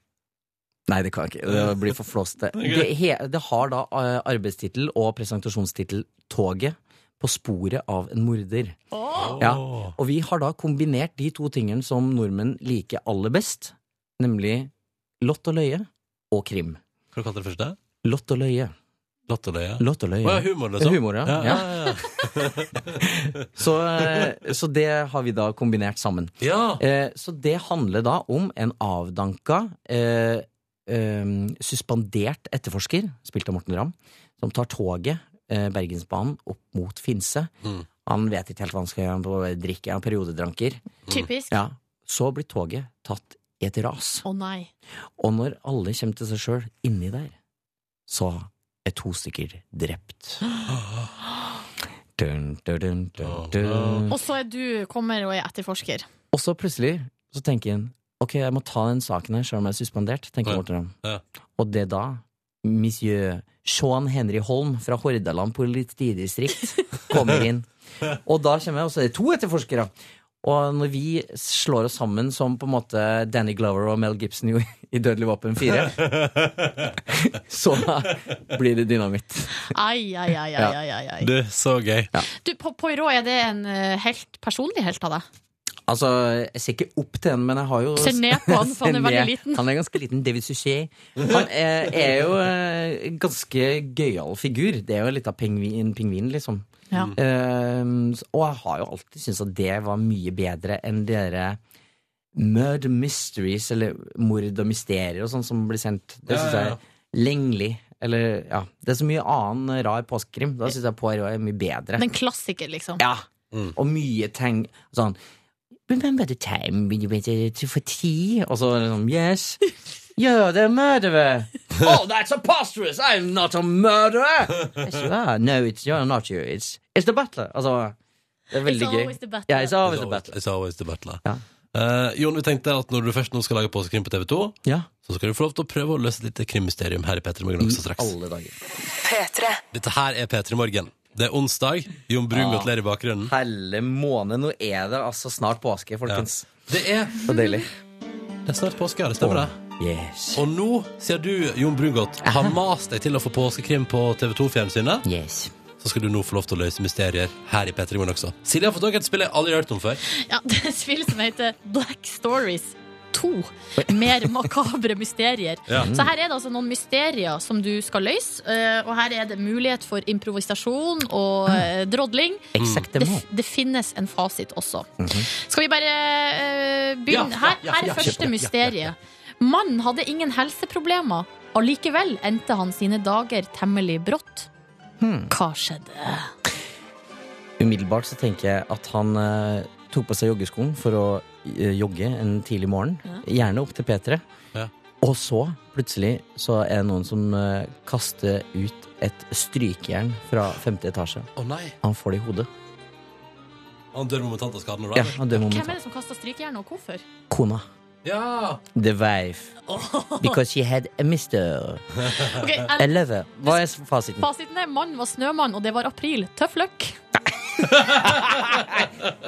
Speaker 10: Nei, det kan jeg ikke. Det blir for
Speaker 4: [laughs]
Speaker 10: flåste. Det, he, det har da eh, arbeidstittel og presentasjonstittel Toget på sporet av en morder. Ja. Og vi har da kombinert de to tingene som nordmenn liker aller best, nemlig lott og løye og krim.
Speaker 4: Hva kalte du det første?
Speaker 10: Lott og løye.
Speaker 4: Latterløye.
Speaker 10: Latterløy.
Speaker 4: Å ja, humor, liksom.
Speaker 10: Humor, ja.
Speaker 4: Ja, ja, ja.
Speaker 10: Så, eh, så det har vi da kombinert sammen.
Speaker 4: ja.
Speaker 10: Eh, Så det handler da om en avdanka, eh, eh, suspendert etterforsker, spilt av Morten Ramm, som tar toget, eh, Bergensbanen, opp mot Finse.
Speaker 4: Mm.
Speaker 10: Han vet ikke helt hva han skal gjøre, han på- drikker, han periodedranker.
Speaker 3: Typisk. Å
Speaker 10: Ja. Så blir toget tatt i et ras.
Speaker 3: nei.
Speaker 10: Og når alle kommer til seg sjøl inni der, så er to stykker drept. [gasps] Dun, dun, dun, dun, dun.
Speaker 3: Og så er du kommer og er etterforsker.
Speaker 10: Og så plutselig så tenker han Ok, jeg må ta den saken her selv om jeg er suspendert, tenker
Speaker 4: Ja.
Speaker 10: Morten Ramm.
Speaker 4: Ja.
Speaker 10: Og det er da monsieur Sean Henry Holm fra Hordaland politidistrikt
Speaker 4: [laughs]
Speaker 10: kommer inn. Og da kommer jeg, og så er det to etterforskere. Og når vi slår oss sammen som på en måte Danny Glover og Mel Gibson gjorde i Dødelig våpen
Speaker 4: [laughs]
Speaker 10: 4, så blir det dynamitt.
Speaker 3: Ai, ai, ai, ai, ai, ai, ai.
Speaker 4: Du, så gøy.
Speaker 3: Du, Po- Poirot, er det en eh, helt, personlig helt av deg?
Speaker 10: Altså, jeg ser ikke opp til han, men jeg har jo
Speaker 3: Ser ned på
Speaker 10: [laughs]
Speaker 3: han, for han er
Speaker 10: Ser ned.
Speaker 3: veldig liten.
Speaker 10: Han er ganske liten. David Suchet. Han er, er jo eh, en ganske gøyal figur. Det er jo litt av pingvin, en pingvin liksom.
Speaker 3: Ja.
Speaker 10: Eh, og jeg har jo alltid syntes at det var mye bedre enn dere murder mysteries, eller mord og mysterier og sånn som blir sendt. Det
Speaker 4: Ja,
Speaker 10: syns
Speaker 4: ja, ja.
Speaker 10: jeg er lenglig. Eller, ja. Det er så mye annen rar påskekrim. Da syns jeg Poirot er mye bedre.
Speaker 3: Den klassiker, liksom?
Speaker 10: Ja. Og mye ting sånn Remember the time when you went to for tea? Og så liksom [laughs] Yes. You're the murderer. [laughs] Oh, that's preposterous! I'm not a murderer! Yes, you are. No, it's you're not you. It's, it's the butler. Altså, det er veldig
Speaker 3: It's
Speaker 10: gøy.
Speaker 3: always the butler.
Speaker 10: Ja, it's always the butler.
Speaker 4: It's always the butler.
Speaker 10: Ja.
Speaker 4: Eh, Jon, vi tenkte at når du først nå skal lage påskekrim på TV 2,
Speaker 10: Ja.
Speaker 4: så skal du få lov til å prøve å løse et lite krimmysterium her i Petter Morgen også
Speaker 10: I
Speaker 4: straks.
Speaker 10: alle dager.
Speaker 2: P3.
Speaker 4: Dette her er Petter i morgen. Det er onsdag. Jon Brun
Speaker 10: Ja.
Speaker 4: gratulerer i bakgrunnen.
Speaker 10: Helle måned, nå er det altså snart påske, folkens.
Speaker 4: Det er,
Speaker 10: Så deilig.
Speaker 4: det er snart påske, ja. Det stemmer, det.
Speaker 10: Yes.
Speaker 4: Og nå, siden du, Jon Brungot, har mast deg til å få påskekrim på TV 2-fjernsynet,
Speaker 10: Yes.
Speaker 4: så skal du nå få lov til å løse mysterier her i P3 Morgen også. Silje har fått tak i et spill jeg aldri har hørt om før.
Speaker 3: Ja, det er et spill som heter Black Stories 2. Mer makabre mysterier.
Speaker 4: Ja.
Speaker 3: Så her er det altså noen mysterier som du skal løse. eh, Og her er det mulighet for improvisasjon og eh, drodling. Det,
Speaker 10: Exactement.
Speaker 3: f- det finnes en fasit også. Skal vi bare eh, begynne?
Speaker 4: Mhm. Ja, ja,
Speaker 3: Her,
Speaker 4: ja,
Speaker 3: her
Speaker 4: ja,
Speaker 3: er første
Speaker 4: kjempe, ja, ja,
Speaker 3: mysteriet. Mannen hadde ingen helseproblemer. Allikevel endte han sine dager temmelig brått.
Speaker 4: Hmm.
Speaker 3: Hva skjedde?
Speaker 10: Umiddelbart så tenker jeg at han eh, tok på seg joggeskoen for å eh, jogge en tidlig morgen. Gjerne opp til P3.
Speaker 4: Ja.
Speaker 10: Og så, plutselig, så er det noen som eh, kaster ut et strykejern fra femte etasje.
Speaker 4: Å nei.
Speaker 10: Han får det i hodet.
Speaker 4: Han dør momentant av skaden.
Speaker 10: Ja,
Speaker 4: Ja.
Speaker 10: og det
Speaker 3: Hvem er
Speaker 10: momentet.
Speaker 3: det som kasta strykejernet, og hvorfor?
Speaker 10: Kona.
Speaker 4: ja.
Speaker 10: The wife. Because she had a mister.
Speaker 4: Eh,
Speaker 3: Ok, jeg-
Speaker 10: A lover. Hva er fasiten?
Speaker 3: Fasiten er mannen var snømann, og det var april. Tøff løkk.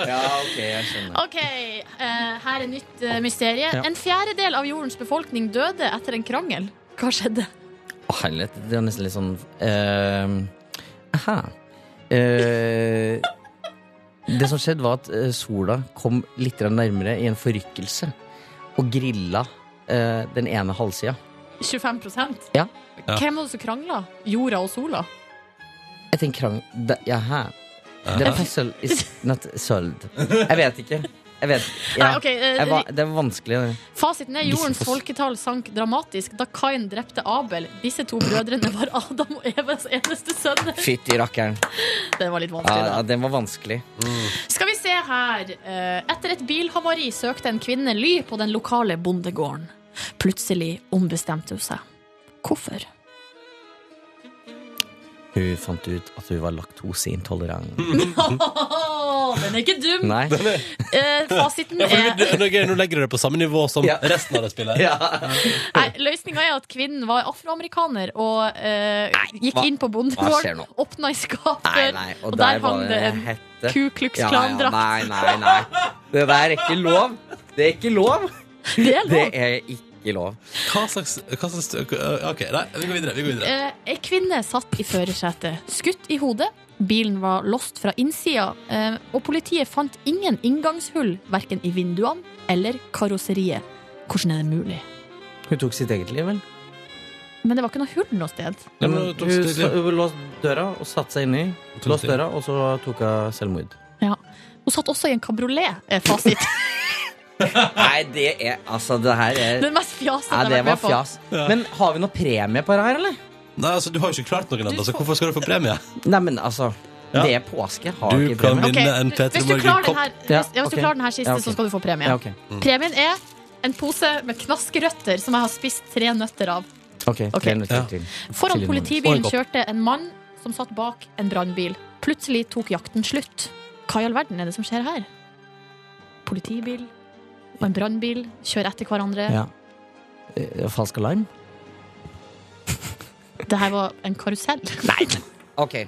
Speaker 10: Ja, ok, jeg skjønner.
Speaker 3: Ok, eh, her er nytt uh, mysterie. En fjerdedel av jordens befolkning døde etter en krangel. Hva skjedde? [laughs]
Speaker 10: Å, helvete. Det er nesten litt sånn eh, Aha. Eh, det som skjedde, var at eh, sola kom litt grann nærmere i en forrykkelse og grilla eh, den ene halvsida.
Speaker 3: 25
Speaker 10: Ja.
Speaker 4: Ja.
Speaker 3: Hvem var det som krangla? Jorda og sola?
Speaker 10: Jeg tenker krang... Da, jaha. Den puzzle is not solved. Jeg vet ikke. Jeg vet
Speaker 3: Nei,
Speaker 10: ja.
Speaker 3: ok, eh,
Speaker 10: jeg, va- Det er vanskelig.
Speaker 3: Fasiten er jordens
Speaker 10: Gislefoss.
Speaker 3: folketall sank dramatisk da Kain drepte Abel. Disse to brødrene var Adam og Evas eneste sønner.
Speaker 10: Fytti rakkeren.
Speaker 3: Det var litt
Speaker 10: Ja,
Speaker 3: vanskelig.
Speaker 10: ja,
Speaker 3: da.
Speaker 10: den var vanskelig.
Speaker 3: Skal vi se her. Eh, Etter et bilhavari søkte en kvinne ly på den lokale bondegården. Plutselig ombestemte hun seg. Hvorfor?
Speaker 10: Hun fant ut at hun var laktoseintolerant.
Speaker 3: Åh, den er ikke dum!
Speaker 10: Nei.
Speaker 3: Eh, fasiten
Speaker 4: for
Speaker 3: er
Speaker 4: du, du, nå er det gøy, nå legger du det på samme nivå som
Speaker 10: Ja.
Speaker 4: resten av det spillet.
Speaker 10: [laughs] Ja.
Speaker 3: Nei, Løsninga er at kvinnen var afroamerikaner og eh, gikk
Speaker 10: hva-
Speaker 3: inn på
Speaker 10: hva skjer
Speaker 3: bondegården,
Speaker 10: nå?
Speaker 3: åpna i skapet,
Speaker 10: Nei, nei. Og,
Speaker 3: og
Speaker 10: der,
Speaker 3: der hang det en
Speaker 10: hette.
Speaker 3: Ku Klux Klan-drakt.
Speaker 10: Nei, nei, nei. Det der er ikke lov. Det er ikke lov.
Speaker 3: [laughs] Det er
Speaker 10: Det
Speaker 3: lov.
Speaker 10: er ikke lov.
Speaker 4: Hva slags, hva slags Ok, nei, vi går videre. Vi går videre.
Speaker 3: Eh, Ei kvinne satt i førersetet, skutt i hodet. Bilen var låst fra innsida, eh, og politiet fant ingen inngangshull verken i vinduene eller karosseriet. Hvordan er det mulig?
Speaker 10: Hun tok sitt eget liv, vel?
Speaker 3: Men det var ikke noe hull noe sted.
Speaker 4: Ja, men
Speaker 10: Hun
Speaker 4: det tok steg-
Speaker 10: sa- hun låste døra og satte seg inni.
Speaker 4: Tok
Speaker 10: Låste
Speaker 4: steg.
Speaker 10: døra, og så tok hun selvmord.
Speaker 3: Ja. Hun satt også i en kabriolet, er
Speaker 10: [laughs]
Speaker 3: fasit.
Speaker 10: Nei, det er Altså, det her er
Speaker 3: Den mest fjasete
Speaker 10: Nei,
Speaker 3: jeg har
Speaker 10: det var
Speaker 3: vært med på.
Speaker 10: fjas. Men har vi noe premie på det her, eller?
Speaker 4: Nei, altså, du har jo ikke klart noen ennå, så hvorfor skal du få premie?
Speaker 10: Nei, men altså
Speaker 4: Ja.
Speaker 10: Det er påske. Har
Speaker 4: Du
Speaker 10: ikke
Speaker 4: kan
Speaker 10: premie.
Speaker 3: Ok,
Speaker 4: vinne. en
Speaker 3: du-
Speaker 4: Petra
Speaker 3: Hvis du
Speaker 4: Morgen
Speaker 3: klarer den
Speaker 4: kopp.
Speaker 3: her, hvis,
Speaker 10: Ja,
Speaker 3: ja, hvis du
Speaker 10: ok.
Speaker 3: klarer den her siste,
Speaker 10: Ja, ok.
Speaker 3: så skal du få premie.
Speaker 10: Ja, ok. Mm.
Speaker 3: Premien er en pose med knaskerøtter som jeg har spist tre nøtter av.
Speaker 10: Ok,
Speaker 3: Ok.
Speaker 10: tre minutter
Speaker 4: Ja.
Speaker 10: til.
Speaker 3: Foran
Speaker 10: Tidlig morgen.
Speaker 3: politibilen
Speaker 4: Og en
Speaker 3: kjørte en mann som satt bak en brannbil. Plutselig tok jakten slutt. Hva i all verden er det som skjer her? Politibil og en brannbil kjører etter hverandre.
Speaker 10: Ja. Eh, Falsk alarm?
Speaker 3: Det her var en karusell.
Speaker 10: Nei. Ok.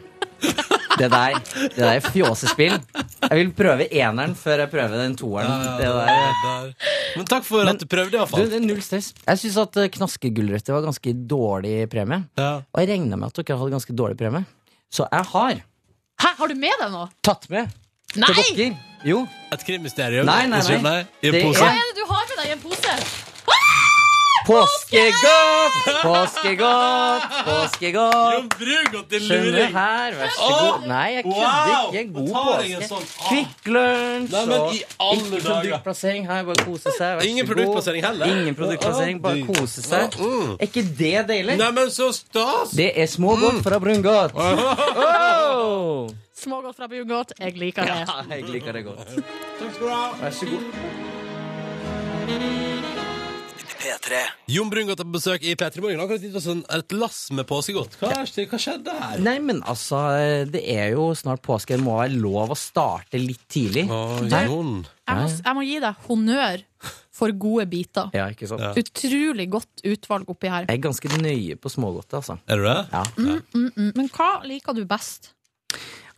Speaker 10: Det der, det der er fjåsespill. Jeg vil prøve eneren før jeg prøver den toeren. Det der,
Speaker 4: Der. Men takk for at du prøvde,
Speaker 10: du,
Speaker 4: iallfall.
Speaker 10: det er null stress. Jeg syns at eh, knaskegulrøtter var ganske dårlig premie.
Speaker 4: Ja.
Speaker 10: Og jeg regna med at dere hadde ganske dårlig premie. Så jeg har
Speaker 3: Hæ, har du med deg noe?
Speaker 10: tatt med til
Speaker 3: Nei!
Speaker 10: dere. Jo.
Speaker 4: Et krimmysterium?
Speaker 10: Nei, nei,
Speaker 4: Unnskyld,
Speaker 10: nei.
Speaker 4: I en
Speaker 10: Det
Speaker 4: pose?
Speaker 3: Hva er det du har med deg i en pose?
Speaker 10: Påskegodt! Påskegodt! Påskegodt!
Speaker 4: Jon Brugodt din
Speaker 10: Skjønner
Speaker 4: luring!
Speaker 10: her, vær så god. Nei, jeg kødder
Speaker 4: Wow!
Speaker 10: ikke. God
Speaker 4: Ta deg en
Speaker 10: påske.
Speaker 4: sånn. Ah.
Speaker 10: Kvikk Lunsj
Speaker 4: Nei, men
Speaker 10: og
Speaker 4: i alle
Speaker 10: ikke
Speaker 4: dager.
Speaker 10: produktplassering her. Bare kose seg. Vær så
Speaker 4: Ingen
Speaker 10: god.
Speaker 4: produktplassering heller.
Speaker 10: Ingen produktplassering,
Speaker 4: Å,
Speaker 10: bare
Speaker 4: du.
Speaker 10: kose seg.
Speaker 4: Mm.
Speaker 10: Er ikke det deilig?
Speaker 4: Neimen, så stas!
Speaker 10: Det er
Speaker 4: Mm.
Speaker 10: smågodt
Speaker 4: [laughs]
Speaker 10: fra Brungot. Oh!
Speaker 3: Smågodt fra Bjugård. Jeg liker det.
Speaker 10: Ja, jeg liker det godt.
Speaker 4: Takk skal du ha.
Speaker 10: Vær så god.
Speaker 1: P3.
Speaker 4: Jon Brungot er på besøk i P3 Morgen. Akkurat gitt oss en- et lass med påskegodt. Hva, er det- hva skjedde her?
Speaker 10: Nei, men altså, det er jo snart påske. Det må være lov å starte litt tidlig.
Speaker 4: Å,
Speaker 10: Nei.
Speaker 4: Jon.
Speaker 3: Jeg må, jeg må gi deg honnør for gode biter.
Speaker 10: Ja, ikke sant?
Speaker 4: Ja.
Speaker 3: Utrolig godt utvalg oppi her.
Speaker 10: Jeg er ganske nøye på smågodtet, altså.
Speaker 4: Er du det?
Speaker 10: Ja.
Speaker 3: Mm, men hva liker du best?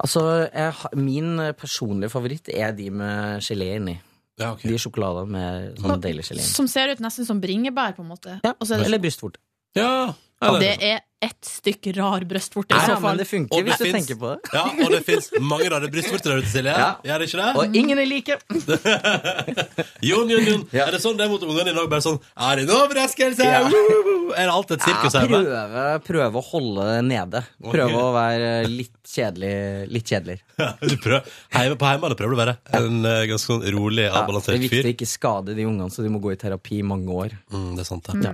Speaker 10: altså jeg, har- min eh, personlige favoritt er de med gelé inni.
Speaker 4: Ja, ok.
Speaker 10: De sjokoladene med sånn deilig gelé. inni.
Speaker 3: Som ser ut nesten som bringebær, på en måte.
Speaker 10: Ja,
Speaker 3: Og så er det,
Speaker 10: eller brystvorte.
Speaker 4: Ja,
Speaker 3: Ja,
Speaker 4: eller-
Speaker 3: det er ett stykk rar brystvorte, i
Speaker 10: Ja,
Speaker 3: så
Speaker 10: men
Speaker 3: fall.
Speaker 10: det
Speaker 4: Og
Speaker 10: funker
Speaker 4: det
Speaker 10: hvis du
Speaker 4: finnes-
Speaker 10: tenker på det.
Speaker 4: Ja, og det fins mange rare brystvorter der ute, Silje.
Speaker 10: Ja.
Speaker 4: Gjør det ikke det?
Speaker 10: Og ingen er like!
Speaker 4: Jon, Jon, Jon.
Speaker 10: Ja.
Speaker 4: Er det sånn det er mot ungene i dag? Bare sånn Er det en overraskelse?
Speaker 10: Ja.
Speaker 4: Woo! Er det alt et
Speaker 10: Ja,
Speaker 4: sirkus her? [laughs] med?
Speaker 10: prøve, prøve å holde det nede. Prøve å være eh, litt kjedelig. Litt kjedelig.
Speaker 4: Du prøver, heime på hjemme, prøver du å være en eh, ganske sånn rolig,
Speaker 10: Ja, det er
Speaker 4: avbalansert
Speaker 10: viktig
Speaker 4: fyr.
Speaker 10: å ikke skade de ungene, så de må gå i terapi i mange år.
Speaker 4: Mm, det er sant, det.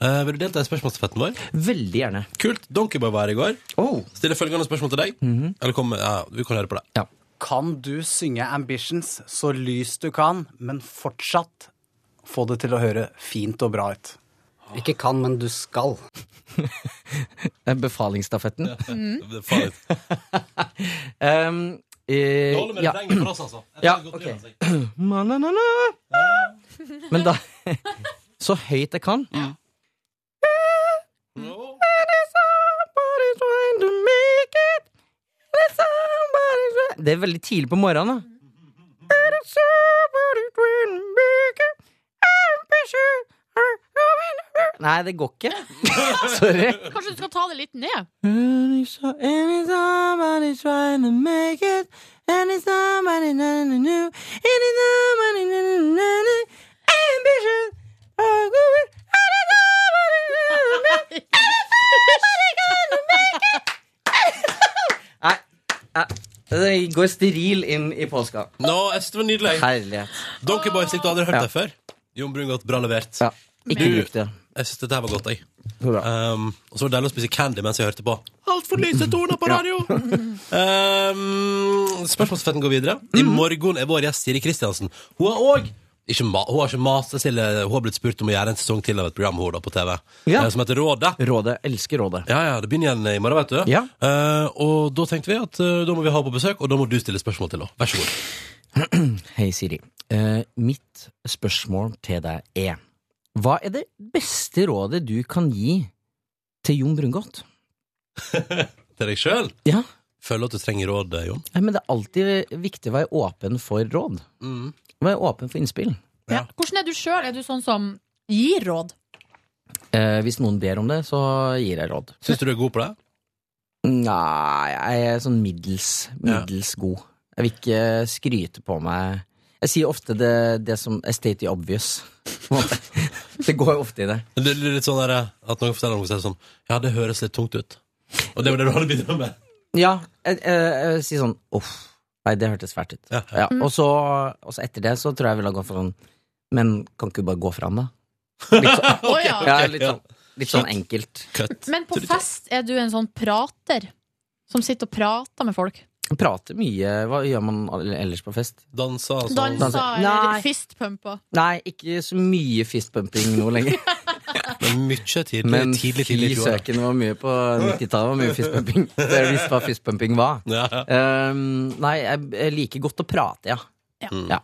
Speaker 4: Eh, vil du delta i spørsmålsstafetten vår?
Speaker 10: Veldig gjerne.
Speaker 4: Kult. Donkeyboy var her i går.
Speaker 10: Oh.
Speaker 4: Stiller følgende spørsmål til deg.
Speaker 10: Mhm.
Speaker 4: Eller kom, ja, Vi kan høre på det.
Speaker 10: Ja.
Speaker 11: Kan du synge Ambitions så lyst du kan, men fortsatt få det til å høre fint og bra ut? Ikke kan, men du skal.
Speaker 10: Eh, Befalingsstafetten. Mhm.
Speaker 4: Det er farlig.
Speaker 10: [laughs] Um, eh,
Speaker 4: Det holder med
Speaker 10: ja.
Speaker 4: refrenget for oss, altså. Jeg tror
Speaker 10: Ja,
Speaker 4: det er godt altså. å
Speaker 10: ok.
Speaker 4: gjøre seg.
Speaker 10: Ma-na-na-na.
Speaker 4: [laughs]
Speaker 10: Men da [laughs] Så høyt jeg kan.
Speaker 4: Nå.
Speaker 10: Somebody's trying to make it. There's somebody try- Det er veldig tidlig på morgenen, da. There's somebody trying to make it. I'm pressure. Nei, det går ikke. [laughs] Sorry.
Speaker 3: Kanskje du skal ta det litt ned?
Speaker 10: Any so- any somebody trying to make it. Any somebody na- na- na- Any somebody na- na- na- na- Ambition. Oh, go with- Any somebody na- na- na- [laughs] Nei, nei, Ah, det går steril inn i påska.
Speaker 4: Nå, jeg synes det var nydelig.
Speaker 10: Herlighet.
Speaker 4: Donkeyboy, slik du aldri har hørt
Speaker 10: Ja.
Speaker 4: det før. Jon Brungot, bra levert.
Speaker 10: Ja, ikke
Speaker 4: Du-
Speaker 10: bruk det.
Speaker 4: Jeg synes dette her var godt, jeg.
Speaker 10: Så bra.
Speaker 4: Um, og så var det deilig å spise candy mens jeg hørte på. Altfor lyse toner på radio! um, spørsmålsfetten går videre. I
Speaker 10: Mm.
Speaker 4: morgen er vår gjest Siri Kristiansen. Hun har òg ikke, ma hun har ikke mast seg til Hun har blitt spurt om å gjøre en sesong til av et program hun da på TV,
Speaker 10: Ja.
Speaker 4: eh, som heter Rådet.
Speaker 10: Rådet. Elsker rådet.
Speaker 4: Ja, ja, Det begynner igjen i morgen, vet du.
Speaker 10: Ja.
Speaker 4: Eh, og da tenkte vi at eh, da må vi ha henne på besøk, og da må du stille spørsmål til henne. Vær så god.
Speaker 10: Hei, Siri. Eh, mitt spørsmål til deg er Hva er det beste rådet du kan gi til Jon Brungot?
Speaker 4: Til deg sjøl.
Speaker 10: Ja.
Speaker 4: Føler at du trenger råd, eh, Jon.
Speaker 10: Nei, men det er alltid viktig å være åpen for råd. Være åpen for innspill.
Speaker 4: Ja.
Speaker 3: Hvordan er du sjøl? Er du sånn som gir råd?
Speaker 10: Eh, hvis noen ber om det, så gir jeg råd.
Speaker 4: Syns du du er god på det?
Speaker 10: Nei, jeg er sånn middels, middels god. Jeg vil ikke skryte på meg Jeg sier ofte det, det som er state obvious. på en måte. [laughs] Det går jo ofte i det.
Speaker 4: Men Det er litt sånn der, at noen forteller noe, så er det sånn Ja, det høres litt tungt ut. Og det var det du hadde bidratt med.
Speaker 10: Ja, jeg, jeg, jeg sier sånn uff. Nei, det hørtes fælt ut. Ja, og, så, og så etter det så tror jeg jeg ville ha gått for sånn Men kan ikke du bare gå fra den, da? Litt
Speaker 4: [laughs]
Speaker 10: sånn,
Speaker 3: Å, ja.
Speaker 10: ja, litt sånn, litt sånn
Speaker 4: Cut.
Speaker 10: enkelt.
Speaker 3: Men på fest er du en sånn prater som sitter og prater med folk.
Speaker 10: Prater mye. Hva gjør man ellers på fest?
Speaker 4: Danser,
Speaker 3: Danser eller
Speaker 10: Nei,
Speaker 3: fistpumper.
Speaker 10: nei, ikke så mye fistbumping nå
Speaker 4: [laughs]
Speaker 10: lenger.
Speaker 4: Men mye tidlig.
Speaker 10: Men
Speaker 4: tidlig,
Speaker 10: fy
Speaker 4: tidlig i fjor, da.
Speaker 10: søken, det var mye på 90-tallet. var mye
Speaker 4: [laughs]
Speaker 10: fistbumping. Dere visste hva fistbumping var. Um, nei, jeg jeg liker godt å prate, ja.
Speaker 3: Ja.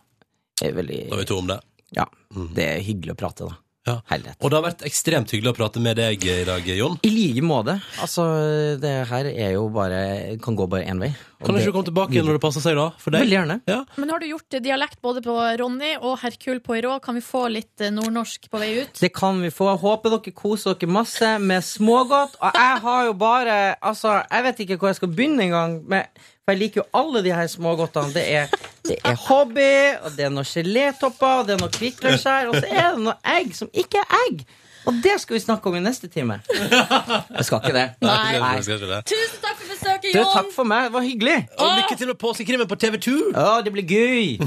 Speaker 10: Jeg er veldig,
Speaker 4: Da er vi to om det.
Speaker 10: ja. Det er hyggelig å prate, da.
Speaker 4: Ja. Og det har vært ekstremt hyggelig å prate med deg i dag, Jon.
Speaker 10: I like måte. Altså, det her er jo bare Kan gå bare én vei. Og
Speaker 4: Kan du
Speaker 10: det-
Speaker 4: ikke komme tilbake igjen når det passer seg, da? For deg?
Speaker 10: Veldig gjerne.
Speaker 4: Ja.
Speaker 3: Men nå har du gjort dialekt både på Ronny og Hercule Poirot. Kan vi få litt eh, nordnorsk på vei ut?
Speaker 10: Det kan vi få. Jeg Håper dere koser dere masse med smågodt. Og jeg har jo bare Altså, jeg vet ikke hvor jeg skal begynne engang. men- For jeg liker jo alle de her smågodtene. Det er, det er hobby, og det er noen gelétopper, og det er noe hvitløksskjær, og så er det noe egg som ikke er egg. Og det skal vi snakke om i neste
Speaker 4: [laughs]
Speaker 10: time. Jeg skal ikke det.
Speaker 4: Nei. Jeg skal ikke det.
Speaker 3: Tusen takk for besøket,
Speaker 10: Du,
Speaker 3: Jon!
Speaker 10: takk for meg. Det var hyggelig.
Speaker 4: Og lykke til med påskekrimmen på TV2!
Speaker 10: Ja, det blir gøy!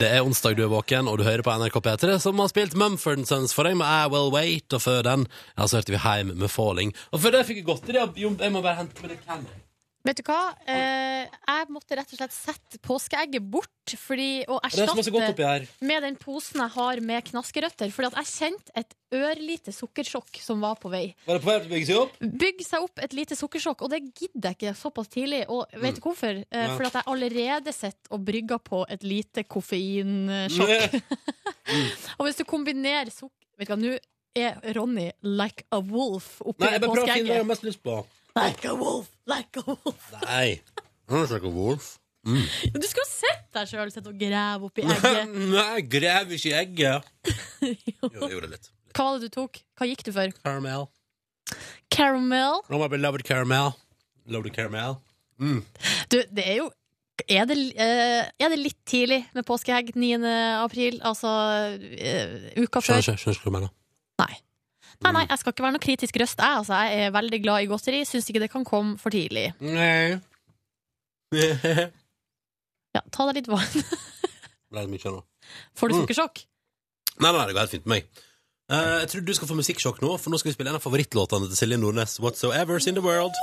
Speaker 4: Det er onsdag du er våken, og du hører på NRK P3, som har spilt Mumford Sons for deg med I Will Wait, og før den ja, så hørte vi Heim med Falling. Og før det fikk jeg godteri av Jon. Jeg må bare hente med det candy.
Speaker 3: Vet du hva? Eh, jeg måtte rett og slett sette påskeegget bort fordi, og
Speaker 4: er så masse godt oppi
Speaker 3: erstatte
Speaker 4: her.
Speaker 3: med den posen jeg har med knaskerøtter. Fordi at jeg kjente et ørlite sukkersjokk som var på vei.
Speaker 4: Var det på vei til å bygge seg opp?
Speaker 3: Bygge seg opp et lite sukkersjokk, og det gidder jeg ikke såpass tidlig. Og vet du hvorfor? Eh,
Speaker 4: Mm. Nei.
Speaker 3: fordi at jeg allerede sitter og brygger på et lite koffeinsjokk. og hvis du kombinerer sukk... Vet du hva, nå er Ronny like a wolf oppi
Speaker 4: Nei, jeg bare prøver å finne hva jeg har
Speaker 3: påskeegget.
Speaker 4: mest lyst på.
Speaker 3: Like a wolf, like a wolf.
Speaker 4: Nei. Han er ikke wolf.
Speaker 3: Du skulle ha sett deg sjøl sitte og grave oppi egget.
Speaker 4: Nei, jeg graver ikke i egget. Jo, jeg gjorde litt.
Speaker 3: Hva var det du tok? Hva gikk du for?
Speaker 4: Caramel.
Speaker 3: Caramel.
Speaker 4: Oh, my beloved caramel. Loved caramel. Mm.
Speaker 3: Du, det er jo er det, eh, er det litt tidlig med påskeegg 9. april? Altså eh, uka før?
Speaker 4: Skjønner ikke, skjønner ikke hva du mener.
Speaker 3: Nei. Nei, nei, jeg skal ikke være noe kritisk røst. Jeg, altså, jeg er veldig glad i godteri. Syns ikke det kan komme for tidlig.
Speaker 4: Nei.
Speaker 3: Ja, ta deg litt vann.
Speaker 4: Ble det mye nå?
Speaker 3: [laughs] Får du
Speaker 4: Mm.
Speaker 3: sukkersjokk?
Speaker 4: Nei, nei, det går helt fint med meg. Eh, jeg tror du skal få musikksjokk nå, for nå skal vi spille en av favorittlåtene til Silje Nordnes, Whatsoever's in the World.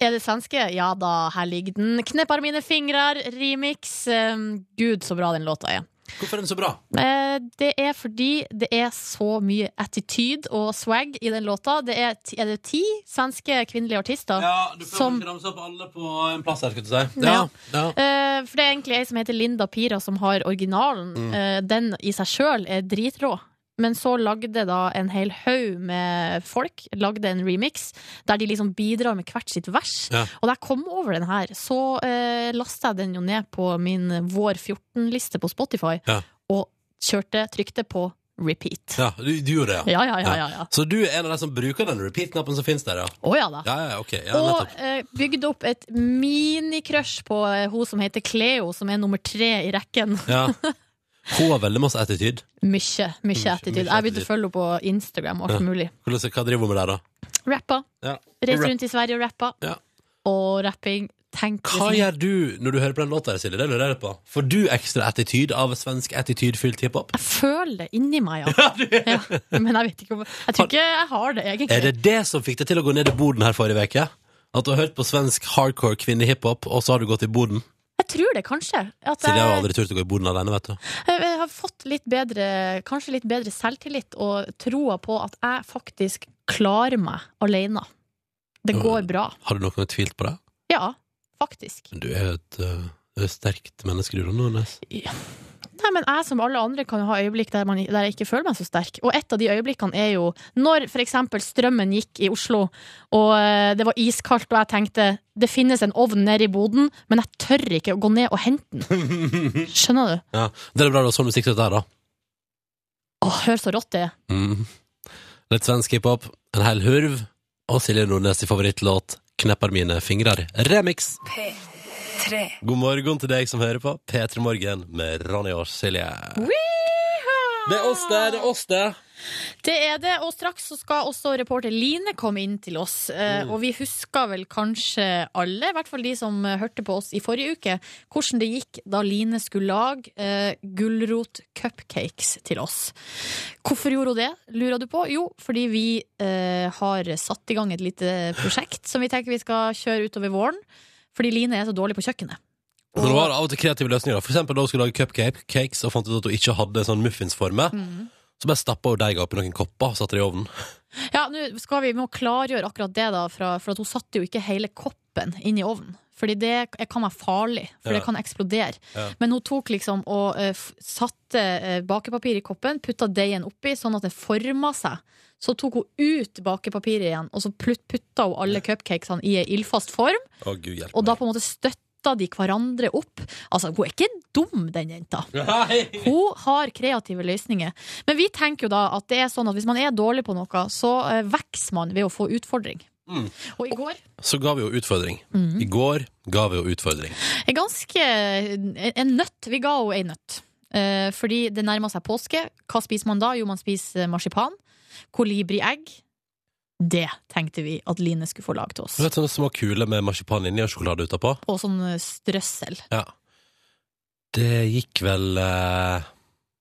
Speaker 3: Er det svenske? Ja da, her ligger den. 'Kneppar mine fingrar', remix. Eh, Gud, så bra den låta er.
Speaker 4: Hvorfor er den så bra?
Speaker 3: Eh, Det er fordi det er så mye attityd og swag i den låta. Det er, ti- er det ti svenske kvinnelige artister som
Speaker 4: ramse opp alle på en plass her, skulle du si. Ja,
Speaker 3: Ja.
Speaker 4: ja.
Speaker 3: eh, For det er egentlig ei som heter Linda Pira, som har originalen.
Speaker 4: Mm.
Speaker 3: Eh, Den i seg sjøl er dritrå. Men så lagde da en hel haug med folk Lagde en remix der de liksom bidrar med hvert sitt vers.
Speaker 4: Ja.
Speaker 3: Og da jeg kom over den her, så eh, lasta jeg den jo ned på min Vår 14-liste på Spotify,
Speaker 4: Ja.
Speaker 3: og kjørte, trykte på repeat.
Speaker 4: ja du, du gjorde det,
Speaker 3: Ja, ja, ja, ja, ja.
Speaker 4: Så du er en av de som bruker den repeat-knappen som finnes der, ja?
Speaker 3: Å ja da.
Speaker 4: Ja, ja, ok. Ja,
Speaker 3: og
Speaker 4: nettopp.
Speaker 3: eh, bygde opp et minicrush på eh, hun som heter Cleo, som er nummer tre i rekken.
Speaker 4: Ja. Hun har veldig masse attitude.
Speaker 3: Mykje, mykje attitude. Jeg begynte
Speaker 4: attitude.
Speaker 3: å følge henne på Instagram og alt
Speaker 4: Ja.
Speaker 3: mulig.
Speaker 4: Hvordan, hva driver hun med der, da?
Speaker 3: Rappa.
Speaker 4: Ja.
Speaker 3: Reiste rundt i Sverige og rappa.
Speaker 4: Ja.
Speaker 3: Og rapping. Tenk
Speaker 4: Hva gjør du når du hører på den låta, Silje? Det lurer jeg på. Får du ekstra attitude av svensk attitude-fylt hiphop?
Speaker 3: Jeg føler det inni meg,
Speaker 4: [laughs]
Speaker 3: ja. ja. Men jeg vet ikke om Jeg tror ikke jeg har det, egentlig.
Speaker 4: Er det det som fikk deg til å gå ned i boden her forrige veke? At du har hørt på svensk hardcore kvinnehiphop, og så har du gått i boden?
Speaker 3: Jeg tror det, kanskje. At
Speaker 4: Silje har
Speaker 3: jeg,
Speaker 4: jo aldri turt å gå i boden alene, vet du.
Speaker 3: jeg jeg har fått litt bedre, kanskje litt bedre selvtillit og troa på at jeg faktisk klarer meg alene. Det går bra.
Speaker 4: Har du noen gang tvilt på det?
Speaker 3: Ja, faktisk.
Speaker 4: Men du er et øh, du er et sterkt menneske, du, Ronny Nordnes.
Speaker 3: Nei, men jeg som alle andre kan jo ha øyeblikk der, man, der jeg ikke føler meg så sterk. Og et av de øyeblikkene er jo når for eksempel strømmen gikk i Oslo, og eh, det var iskaldt, og jeg tenkte det finnes en ovn nede i boden, men jeg tør ikke å gå ned og hente den. Skjønner du?
Speaker 4: Ja. Det er bra du har sånn musikk som dette her, da.
Speaker 3: Åh, hør så rått det er.
Speaker 4: Mm. Litt svensk hiphop, en hel hurv, og Silje Nordnes' i favorittlåt 'Knepper mine fingrar'. Remix.
Speaker 2: P3. tre.
Speaker 4: God morgen til deg som hører på. P3 Morgen med Ronny og Silje. Det er oss, det. Det er oss, det.
Speaker 3: Det er det, og straks så skal også reporter Line komme inn til oss. Eh, Og vi husker vel kanskje alle, i hvert fall de som eh, hørte på oss i forrige uke, hvordan det gikk da Line skulle lage eh, gulrotcupcakes til oss. Hvorfor gjorde hun det, lurer du på? Jo, fordi vi eh, har satt i gang et lite prosjekt som vi tenker vi skal kjøre utover våren. Fordi Line er så dårlig på kjøkkenet.
Speaker 4: Men hun har av og til kreative løsninger. da. For eksempel da hun skulle lage cupcakes og fant ut at hun ikke hadde en sånn muffinsforme. Så bare stappa hun deiga oppi noen kopper og satte det i ovnen.
Speaker 3: Ja, nå skal vi må klargjøre akkurat det, da, fra, for at hun satte jo ikke hele koppen inn i ovnen. Fordi det kan være farlig, for
Speaker 12: Ja.
Speaker 3: det kan eksplodere.
Speaker 12: Ja.
Speaker 3: Men hun tok liksom og eh, f- satte eh, bakepapir i koppen, putta deigen oppi, sånn at den forma seg. Så tok hun ut bakepapiret igjen, og så plut- putta hun alle cupcakesene i ei ildfast form.
Speaker 4: Å, gud hjelpe
Speaker 3: Og da på en måte støtta de hverandre opp. Altså, hun er ikke dum, den jenta. Hun har kreative løsninger. Men vi tenker jo da at det er sånn at hvis man er dårlig på noe, så eh, vokser man ved å få utfordring.
Speaker 4: Mm.
Speaker 3: Og i går mm,
Speaker 4: Så ga vi jo utfordring. I går ga vi jo utfordring.
Speaker 3: en ganske En nøtt. Vi ga henne ei nøtt. Eh, fordi det nærma seg påske. Hva spiser man da? Jo, man spiser marsipan. Kolibriegg. Det tenkte vi at Line skulle få lage til oss.
Speaker 4: Du vet sånne små kuler med marsipan inni og sjokolade utapå?
Speaker 3: Og sånn eh, strøssel.
Speaker 4: Ja. Det gikk vel eh,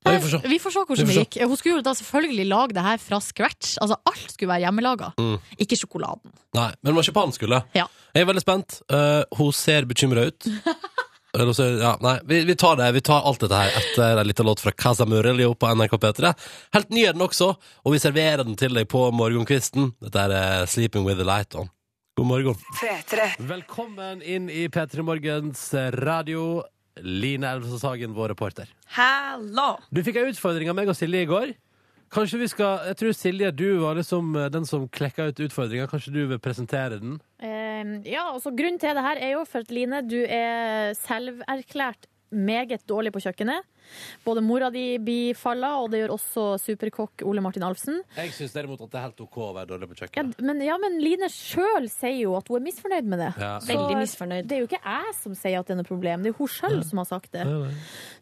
Speaker 4: Nei, vi får se.
Speaker 3: Vi får se
Speaker 4: Vi
Speaker 3: hvordan
Speaker 4: får
Speaker 3: det
Speaker 4: se.
Speaker 3: gikk. Hun skulle jo da selvfølgelig lage det her fra scratch. Altså Alt skulle være hjemmelaga.
Speaker 4: Mm.
Speaker 3: Ikke sjokoladen.
Speaker 4: Nei, men marsipan skulle.
Speaker 3: Ja.
Speaker 4: Jeg er veldig spent. Eh, hun ser bekymra ut. Eller så, ja, nei, vi, vi tar det, vi tar alt dette her etter en liten låt fra Casa Murelio på NRK P3. Helt ny er den også, og vi serverer den til deg på morgenkvisten. Dette er eh, Sleeping with the Light On. God morgen.
Speaker 2: P3.
Speaker 4: Velkommen inn i P3 Morgens radio. Line Elvestad Sagen, vår reporter.
Speaker 2: Hallo!
Speaker 4: Du fikk en utfordring av meg og Silje i går. Kanskje vi skal, Jeg tror Silje, du var liksom eh, den som klekka ut utfordringa. Kanskje du vil presentere den?
Speaker 3: Ehm, ja, og så Grunnen til det her er jo for at Line, du er selverklært meget dårlig på kjøkkenet. Både mora di bifalla, og det gjør også superkokk Ole Martin Alfsen.
Speaker 4: Jeg syns derimot at det er helt OK å være dårlig på kjøkkenet.
Speaker 3: Ja, men, ja, men Line sjøl sier jo at hun er misfornøyd med det.
Speaker 4: Ja.
Speaker 3: Så
Speaker 4: Veldig
Speaker 3: Det er jo ikke jeg som sier at det er noe problem, det er hun sjøl som har sagt det.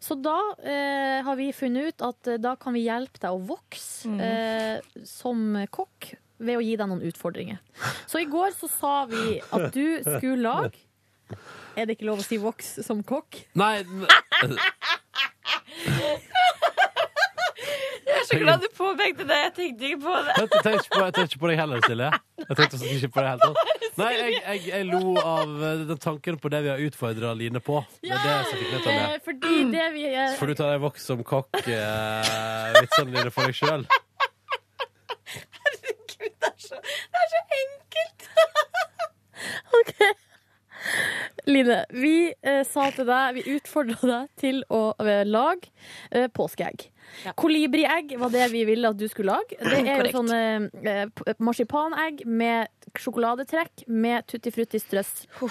Speaker 3: Så da eh, har vi funnet ut at eh, da kan vi hjelpe deg å vokse eh, som kokk ved å gi deg noen utfordringer. Så i går så sa vi at du
Speaker 4: [laughs]
Speaker 3: skulle lage Er det ikke lov å si voks som kokk?
Speaker 4: Nei
Speaker 2: [laughs] Jeg er så glad du påpekte det. Jeg tenkte ikke på det.
Speaker 4: Jeg tenkte ikke på, jeg tenkte ikke på deg heller, Silje. Jeg tenkte faktisk ikke på deg heller. Nei, jeg, jeg, jeg lo av eh, den tanken på det vi har utfordra Line på. Det er det som fikk meg til å
Speaker 3: Eh,
Speaker 4: le.
Speaker 3: fordi det vi eh,
Speaker 4: Så får du ta deg voks som kokk eh, vitsene dine for deg sjøl.
Speaker 2: Herregud, det er så, det er så enkelt!
Speaker 3: Line, vi eh, sa til deg, vi utfordra deg til å eh, lage eh, påskeegg. Kolibriegg var det vi ville at du skulle lage. Det [clears throat] er jo
Speaker 2: Korrekt.
Speaker 3: sånn eh, p- marsipanegg med sjokoladetrekk med tutti frutti strøss på.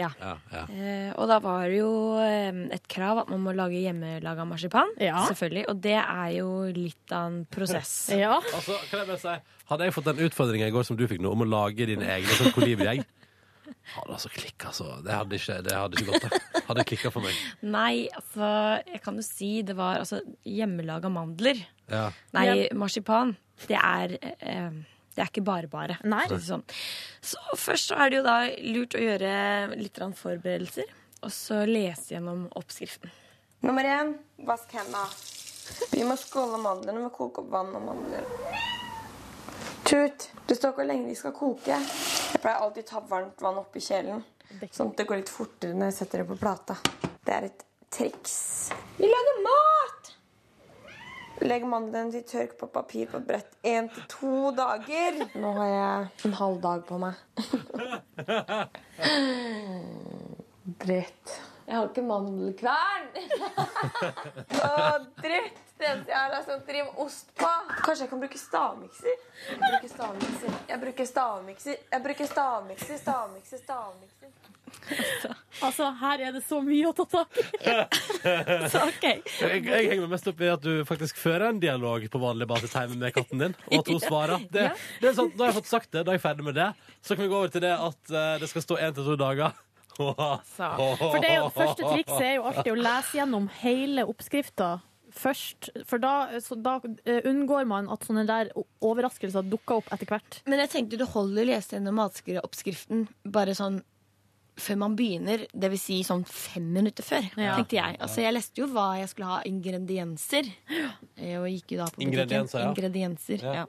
Speaker 2: Ja. [clears throat] Eh, og da var det jo eh, et krav at man må lage hjemmelaga marsipan.
Speaker 3: Ja.
Speaker 2: Selvfølgelig. Og det er jo litt av en prosess.
Speaker 4: Altså, kan jeg bare si, hadde jeg fått den utfordringa i går som du fikk nå, om å lage dine egne sånn kolibriegg Hadde altså klikka så Det hadde ikke, det hadde ikke gått. Det. Hadde klikka for meg.
Speaker 2: Nei, altså, jeg kan jo si det var altså hjemmelaga mandler.
Speaker 4: Ja.
Speaker 2: Nei,
Speaker 3: Ja.
Speaker 2: marsipan. Det er eh, det er ikke bare bare.
Speaker 3: Nei.
Speaker 2: for å si det Sånn. Så først så er det jo da lurt å gjøre litt grann forberedelser, og så lese gjennom oppskriften.
Speaker 13: Nummer én vask hendene. Vi må skåle mandlene med å koke opp vann og mandler. Tut, det står ikke hvor lenge de skal koke. Jeg pleier alltid å ta varmt vann oppi kjelen, sånn at det går litt fortere når jeg setter det på plata. Det er et triks. Vi lager mat! Legg mandlene til tørk på papir på brett én til to dager. Nå har jeg en halv dag på meg. Dritt. Jeg har ikke mandelkvern. Å, dritt! Det eneste jeg har, er sånt rim ost på. Kanskje jeg kan bruke stavmikser? Jeg bruker stavmikser. Jeg bruker stavmikser. Jeg bruker stavmikser, stavmikser, stavmikser.
Speaker 3: Altså, her er det så mye å ta tak i. Så, ok.
Speaker 4: Jeg, jeg henger meg mest opp i at du faktisk fører en dialog på vanlig basis hjemme med katten din, og at
Speaker 3: [laughs]
Speaker 4: hun
Speaker 3: Ja.
Speaker 4: svarer. Det,
Speaker 3: Ja.
Speaker 4: det er sånn, da har jeg fått sagt det, da er jeg ferdig med det. Så kan vi gå over til det at eh, det skal stå én til to dager.
Speaker 3: altså. For det er
Speaker 4: [laughs]
Speaker 3: jo, første trikset er jo alltid å lese gjennom hele oppskrifta først. For da, så da eh, unngår man at sånne der o- overraskelser dukker opp etter hvert.
Speaker 2: Men jeg tenkte det holder å lese gjennom matskreoppskriften bare sånn før man begynner, dvs. Si sånn fem minutter før,
Speaker 3: Ja.
Speaker 2: tenkte jeg. Altså, jeg leste jo hva jeg skulle ha av ingredienser. eh, Og gikk jo da på butikken.
Speaker 4: Ingredienser, ja.
Speaker 2: Ingredienser,
Speaker 4: Ja.
Speaker 2: ja.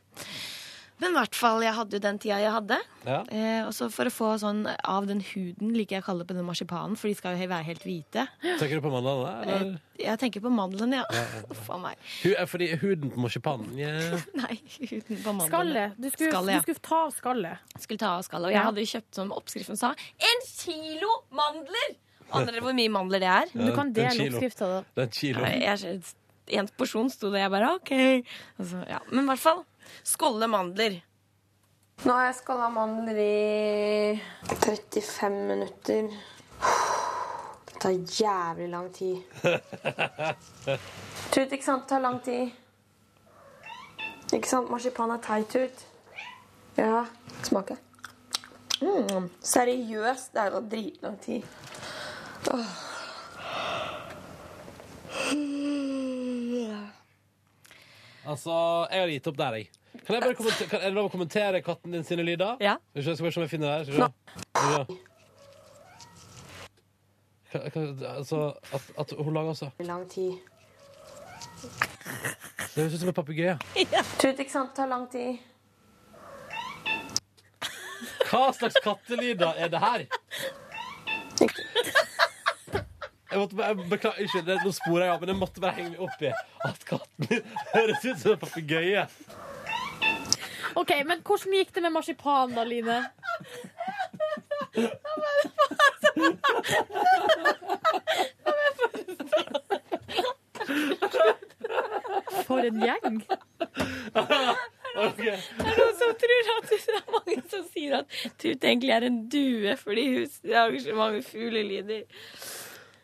Speaker 2: Men i hvert fall, jeg hadde jo den tida jeg hadde.
Speaker 4: Ja.
Speaker 2: Eh, og så for å få sånn av den huden, liker jeg å kalle det på den marsipanen, for de skal jo he- være helt hvite.
Speaker 4: Tenker du på mandlene?
Speaker 2: Eh,
Speaker 4: eller?
Speaker 2: jeg tenker på mandelen, ja.
Speaker 4: Ja, ja.
Speaker 2: [laughs] Uff a meg.
Speaker 4: Hu- eh, Fordi huden på marsipanen yeah.
Speaker 2: [laughs] Nei, huden på mandelen.
Speaker 3: Skallet. Du skulle- du ta av skallet.
Speaker 2: Skulle ta av skallet, Og jeg
Speaker 3: Ja.
Speaker 2: hadde jo kjøpt som oppskriften sa, en kilo mandler! Aner dere hvor mye mandler det er?
Speaker 4: Men du Ja, kan det er en dele kilo. oppskriften,
Speaker 3: da.
Speaker 4: Det er en kilo.
Speaker 2: Nei, jeg- En porsjon sto det, jeg bare OK. Altså, ja. Men i hvert fall. Skålle mandler.
Speaker 13: Nå har jeg skalla mandler i 35 minutter. Det tar jævlig lang tid. Tut, ikke sant? Det tar lang tid. Ikke sant? Marsipan er teit ut. Ja. Smaker. Mm. Seriøst, det er jo dritlang tid. Åh.
Speaker 4: Altså, jeg har gitt opp der, jeg. Kan jeg bare kommenter- kan, Er det lov å kommentere katten din sine lyder?
Speaker 2: Ja.
Speaker 4: Skal vi se- skal vi se om jeg finner det her. Skal vi se. Skal vi se. Hva- hva- Altså, at, at hun lager altså
Speaker 13: Lang tid.
Speaker 4: Det høres ut som en papegøye.
Speaker 13: Tut, ikke sant? Det tar lang tid.
Speaker 4: Hva slags kattelyder er det her? Jeg måtte bare, jeg beklager, ikke, det, nå sporer jeg av, men jeg måtte bare henge meg opp i at katten [laughs] min høres ut som en papegøye.
Speaker 3: OK, men hvordan gikk det med marsipan, da, Line? For en gjeng.
Speaker 4: Okay.
Speaker 2: Det er noen som tror at det er mange som sier at Tut egentlig er en due fordi hun lager så mange fuglelyder.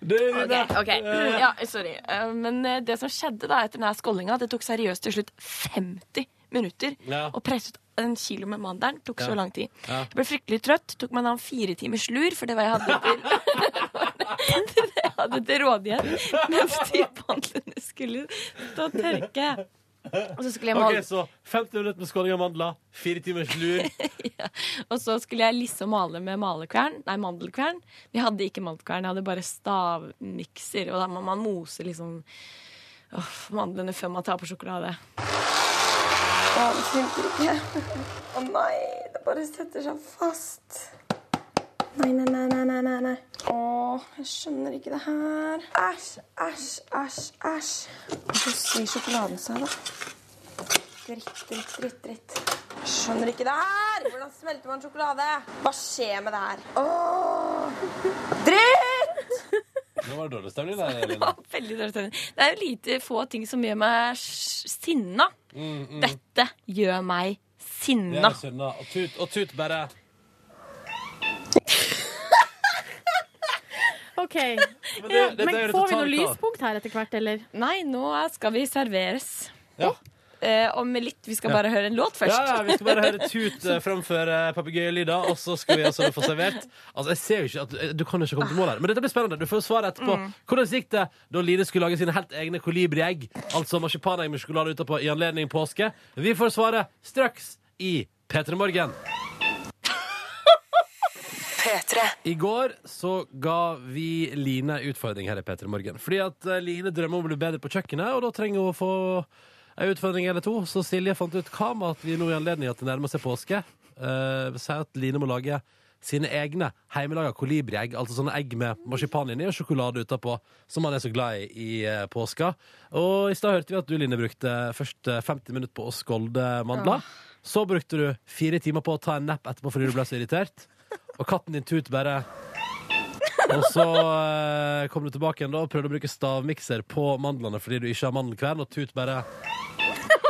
Speaker 4: Det er
Speaker 2: Ok, ok. Ja, sorry. Eh, Men eh, det som skjedde da etter denne skålinga, det tok seriøst til slutt 50 minutter
Speaker 4: Ja.
Speaker 2: å presse ut en kilo med mandelen. tok
Speaker 4: Ja.
Speaker 2: så lang tid.
Speaker 4: Ja.
Speaker 2: Jeg ble fryktelig trøtt. Tok meg da en fire timers lur, for det var jeg hadde til, det jeg hadde til [laughs] rådighet mens typhandlene skulle stå og tørke. Og så skulle jeg male
Speaker 4: Ok, så 50 minutter med skåling av mandler, fire timers lur.
Speaker 2: Og så skulle jeg liksom lisse og male med malekvern, nei, mandelkvern. Vi hadde ikke mandelkvern, jeg hadde bare stavmikser. Og da må man mose liksom åh, mandlene før man tar på sjokolade.
Speaker 13: Å, det funker ikke. Å nei, det bare setter seg fast. Nei, nei, nei, nei, nei, nei, nei. Å, jeg skjønner ikke det her. Æsj, æsj, æsj, æsj. Hvordan sier sjokoladen seg, da? Dritt, dritt, dritt, dritt. Jeg Skjønner ikke det her! Hvordan smelter man sjokolade? Hva skjer med det her? Åh, dritt!
Speaker 4: Nå var det dårlig stemning der,
Speaker 2: [laughs] Det
Speaker 4: Line.
Speaker 2: var veldig dårlig stemning. Det er jo lite få ting som gjør meg s- sinna.
Speaker 4: Mm, mm.
Speaker 2: Dette gjør meg
Speaker 4: Det
Speaker 2: sinna.
Speaker 4: er Sunna. Og tut, og tut bare.
Speaker 3: OK. Men,
Speaker 4: det- dette er jo
Speaker 3: får vi noe
Speaker 4: totalt kaos.
Speaker 3: lyspunkt her etter hvert, eller?
Speaker 2: Nei, nå skal vi serveres.
Speaker 4: Ja.
Speaker 2: Eh, om litt. Vi skal
Speaker 4: Ja.
Speaker 2: bare høre en låt først.
Speaker 4: Ja, ja, vi skal bare høre Tut eh, framføre papegøyelyder, og så skal vi altså få servert. Altså, jeg ser jo ikke at eh, Du kan jo ikke komme til mål her, men dette blir spennende. Du får jo svaret etterpå.
Speaker 2: Mm.
Speaker 4: Hvordan gikk det da Line skulle lage sine helt egne kolibriegg, altså marsipanegg med sjokolade utapå i anledning påske? Vi får svaret straks i P3 Morgen. I går så ga vi Line en utfordring her i P3 Morgen. Fordi at eh, Line drømmer om å bli bedre på kjøkkenet, og da trenger hun å få en utfordring eller to. Så Silje fant ut hva med at vi nå i anledning at det nærmer seg påske, eh, sier at Line må lage sine egne hjemmelaga kolibriegg, altså sånne egg med marsipan inni og sjokolade utapå, som man er så glad i i eh, påska. Og i stad hørte vi at du, Line, brukte først eh, 50 minutter på å skålde mandler. Så brukte du fire timer på å ta en napp etterpå fordi du ble så irritert. Og katten din Tut bare Og så eh, kom du tilbake igjen da og prøvde å bruke stavmikser på mandlene fordi du ikke har mandelkvern, og Tut bare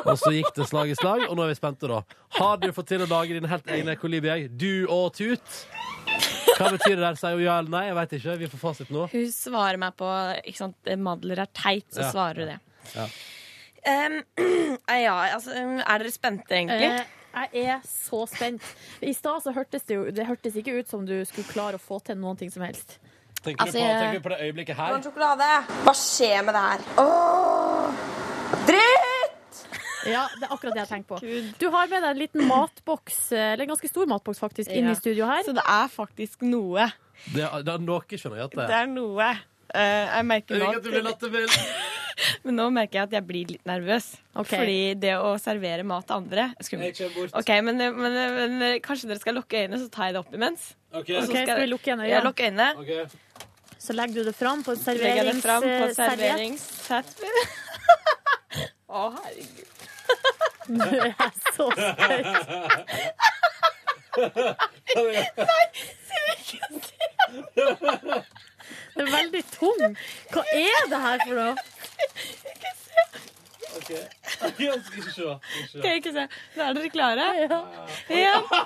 Speaker 4: Og så gikk det slag i slag, og nå er vi spente, da. Har du fått til å lage dine helt egne kolibriegg, du og Tut? Hva betyr det der? Sier hun ja eller nei? Jeg veit ikke. Vi får fasit nå.
Speaker 2: [laughs] Hun svarer meg på ikke sant, eh, 'mandler er teit', så
Speaker 4: Ja.
Speaker 2: svarer hun det. eh,
Speaker 4: Ja.
Speaker 2: [clears throat] Um, ja, altså, um, er dere spente, egentlig?
Speaker 3: Eh, Jeg er så spent. I stad så hørtes det jo Det hørtes ikke ut som du skulle klare å få til noen ting som helst.
Speaker 4: Tenker,
Speaker 3: Altså,
Speaker 4: du på,
Speaker 3: jeg-
Speaker 4: tenker du på det øyeblikket her?
Speaker 13: sjokolade. Hva skjer med det her? Åh, dritt!
Speaker 3: Ja, det er akkurat det jeg tenker på. Du har med deg en liten matboks, eh, eller en ganske stor matboks faktisk, inn
Speaker 2: Ja.
Speaker 3: i studio her.
Speaker 2: Så det er faktisk noe.
Speaker 4: Det, er- det er noe, skjønner jeg at det
Speaker 2: Det er noe. Eh, jeg merker nå
Speaker 4: Jeg liker at du blir lattermild.
Speaker 2: Men nå merker jeg at jeg blir litt nervøs.
Speaker 3: Ok.
Speaker 2: Fordi det å servere mat til andre er skummelt.
Speaker 4: Jeg kjører bort.
Speaker 2: Ok, men, men, men kanskje dere skal lukke øynene, så tar jeg det opp imens.
Speaker 4: Ok.
Speaker 2: Og så
Speaker 3: Ok, skal vi lukke igjen øynene?
Speaker 2: Ja, lukke øynene.
Speaker 3: Så legger du det fram på en
Speaker 2: Legger jeg det fram på
Speaker 3: serverings-
Speaker 2: serverings... [laughs] Å, herregud.
Speaker 3: Du er så søt.
Speaker 2: Nei, seriøst.
Speaker 3: Det er veldig tung. Hva er det her for noe?
Speaker 4: Ok. Jeg skal ikke se. Skal ikke
Speaker 2: Skal
Speaker 4: se.
Speaker 2: jeg ikke se. Nå er dere klare? Ja.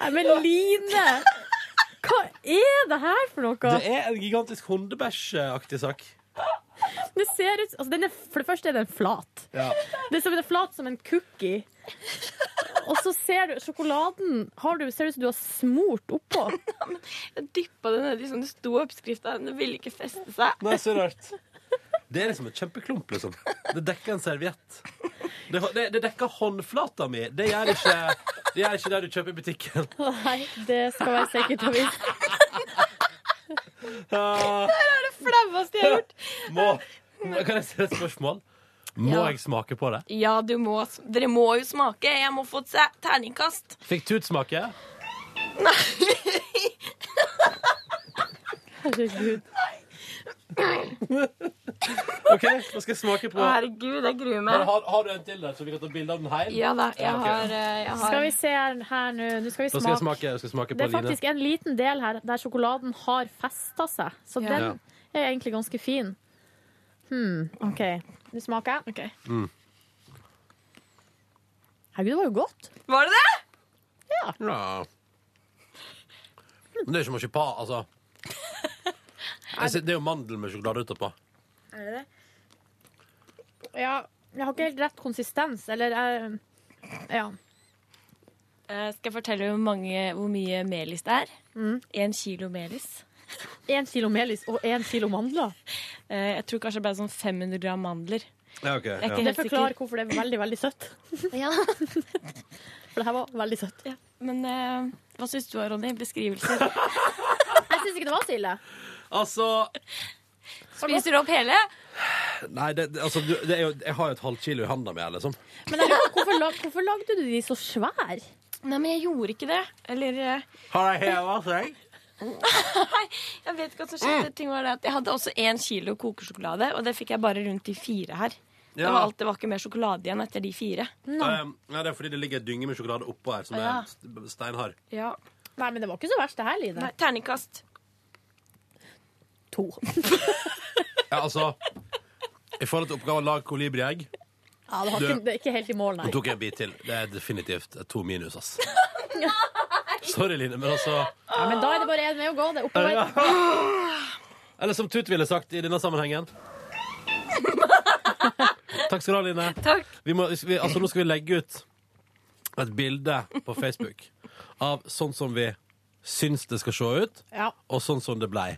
Speaker 3: Nei, men Line! Hva er det her for noe?
Speaker 4: Det er en gigantisk hundebæsjaktig sak.
Speaker 3: Det ser ut, altså den er, For det første er den flat.
Speaker 4: Ja.
Speaker 3: Det er som, den er flat som en cookie. Og så ser du sjokoladen har du, ser det ut som du har smurt oppå.
Speaker 2: Jeg dyppa det nedi som det sto i oppskrifta. men Det ville ikke feste seg.
Speaker 4: Nei, så rart. Det er liksom en kjempeklump, liksom. Det dekker en serviett. Det, det, det dekker håndflata mi. Det gjør ikke det gjør ikke det du kjøper i butikken.
Speaker 3: Nei, det skal være sikkert og visst.
Speaker 4: Ah,
Speaker 2: Det er det flaueste jeg har gjort.
Speaker 4: må, kan jeg stille et spørsmål? Må
Speaker 2: Ja.
Speaker 4: jeg smake på det?
Speaker 2: Ja, du må, dere må jo smake. Jeg må få et se- terningkast.
Speaker 4: Fikk Tut
Speaker 2: [laughs]
Speaker 4: smake?
Speaker 3: Herregud.
Speaker 4: OK, da skal jeg smake på
Speaker 2: Herregud, jeg gruer
Speaker 4: Men har, har du en til der, så vi kan ta bilde av den heil?
Speaker 2: Ja da, jeg
Speaker 4: ok.
Speaker 2: har, eh, jeg har-
Speaker 3: Skal vi se her, her nå. Nå skal vi
Speaker 4: Da skal jeg
Speaker 3: smake.
Speaker 4: smake, jeg skal smake
Speaker 3: Det
Speaker 4: på
Speaker 3: er
Speaker 4: Line.
Speaker 3: faktisk en liten del her der sjokoladen har festa seg, så
Speaker 4: Ja.
Speaker 3: den er egentlig ganske fin. Hmm, OK. Nå smaker jeg.
Speaker 4: Mm.
Speaker 3: Herregud, det var jo godt.
Speaker 2: Var det det?
Speaker 4: Ja. Men det er jo ikke marsipa, altså. Jeg ser- Det [laughs] er jo mandel med sjokolade utapå.
Speaker 3: Er det det? Ja, jeg har ikke helt rett konsistens, eller eh, Ja.
Speaker 2: Eh, Skal jeg fortelle hvor, mange, hvor mye melis det er?
Speaker 3: Mm.
Speaker 2: Én kilo melis.
Speaker 3: Én kilo melis og én kilo mandler?
Speaker 2: Jeg tror kanskje det ble sånn 500 gram mandler.
Speaker 4: Ja, ok.
Speaker 2: Jeg er ikke
Speaker 3: Det
Speaker 2: helt
Speaker 3: forklarer
Speaker 2: sikker.
Speaker 3: hvorfor det er veldig, veldig [laughs] søtt. For det her var veldig søtt.
Speaker 2: Men eh, hva syns du, Ronny? [laughs] Beskrivelser?
Speaker 3: Jeg syns ikke det var så ille.
Speaker 4: Altså,
Speaker 2: Spiser du opp hele?
Speaker 4: Nei, det, det- altså, du, det er jo, jeg har jo et halvt kilo i handa mi, her, liksom.
Speaker 3: Men jeg lurer på, hvorfor, lag, hvorfor lagde du de så svære?
Speaker 2: Nei, men jeg gjorde ikke det. Eller eh,
Speaker 4: Har jeg heva seg?
Speaker 2: Jeg vet ikke hva som skjedde. Ting var det at jeg hadde også én kilo kokesjokolade, og det fikk jeg bare rundt de fire her. Det,
Speaker 4: Ja.
Speaker 2: var alt, det var ikke mer sjokolade igjen etter de fire.
Speaker 4: Nei. det er fordi det ligger en dynge med sjokolade oppå her som
Speaker 2: Ja.
Speaker 4: er st- steinhard.
Speaker 2: Ja.
Speaker 3: Nei, men det var ikke så verst, det her, Line.
Speaker 2: Nei, terningkast.
Speaker 3: To.
Speaker 4: Ja, altså I forhold til oppgaven lag kolibriegg,
Speaker 3: Ja, det, var
Speaker 4: Du-
Speaker 3: ikke, det er ikke helt i mål,
Speaker 4: nå
Speaker 3: nei.
Speaker 4: tok jeg en bit til. Det er definitivt et to minus, [laughs] ass. Sorry, Line, men altså
Speaker 3: Ja, men da er det bare én vei å gå. Det er
Speaker 4: Ja. [gasps]
Speaker 3: oppover.
Speaker 4: Eller som Tut ville sagt i denne sammenhengen. Takk skal du ha, Line. Vi må, vi, altså, nå skal vi legge ut et bilde på Facebook av sånn som vi syns det skal se ut,
Speaker 3: Ja.
Speaker 4: og sånn som det blei.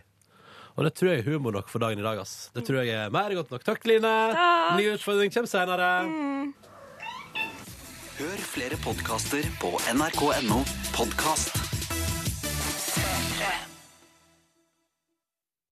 Speaker 4: Og det tror jeg er humor nok for dagen i dag. ass. Det tror jeg er mer enn godt nok. Takk, Line.
Speaker 1: Takk.
Speaker 4: Ny utfordring kommer seinere.
Speaker 1: Hør flere podkaster på nrk.no podkast.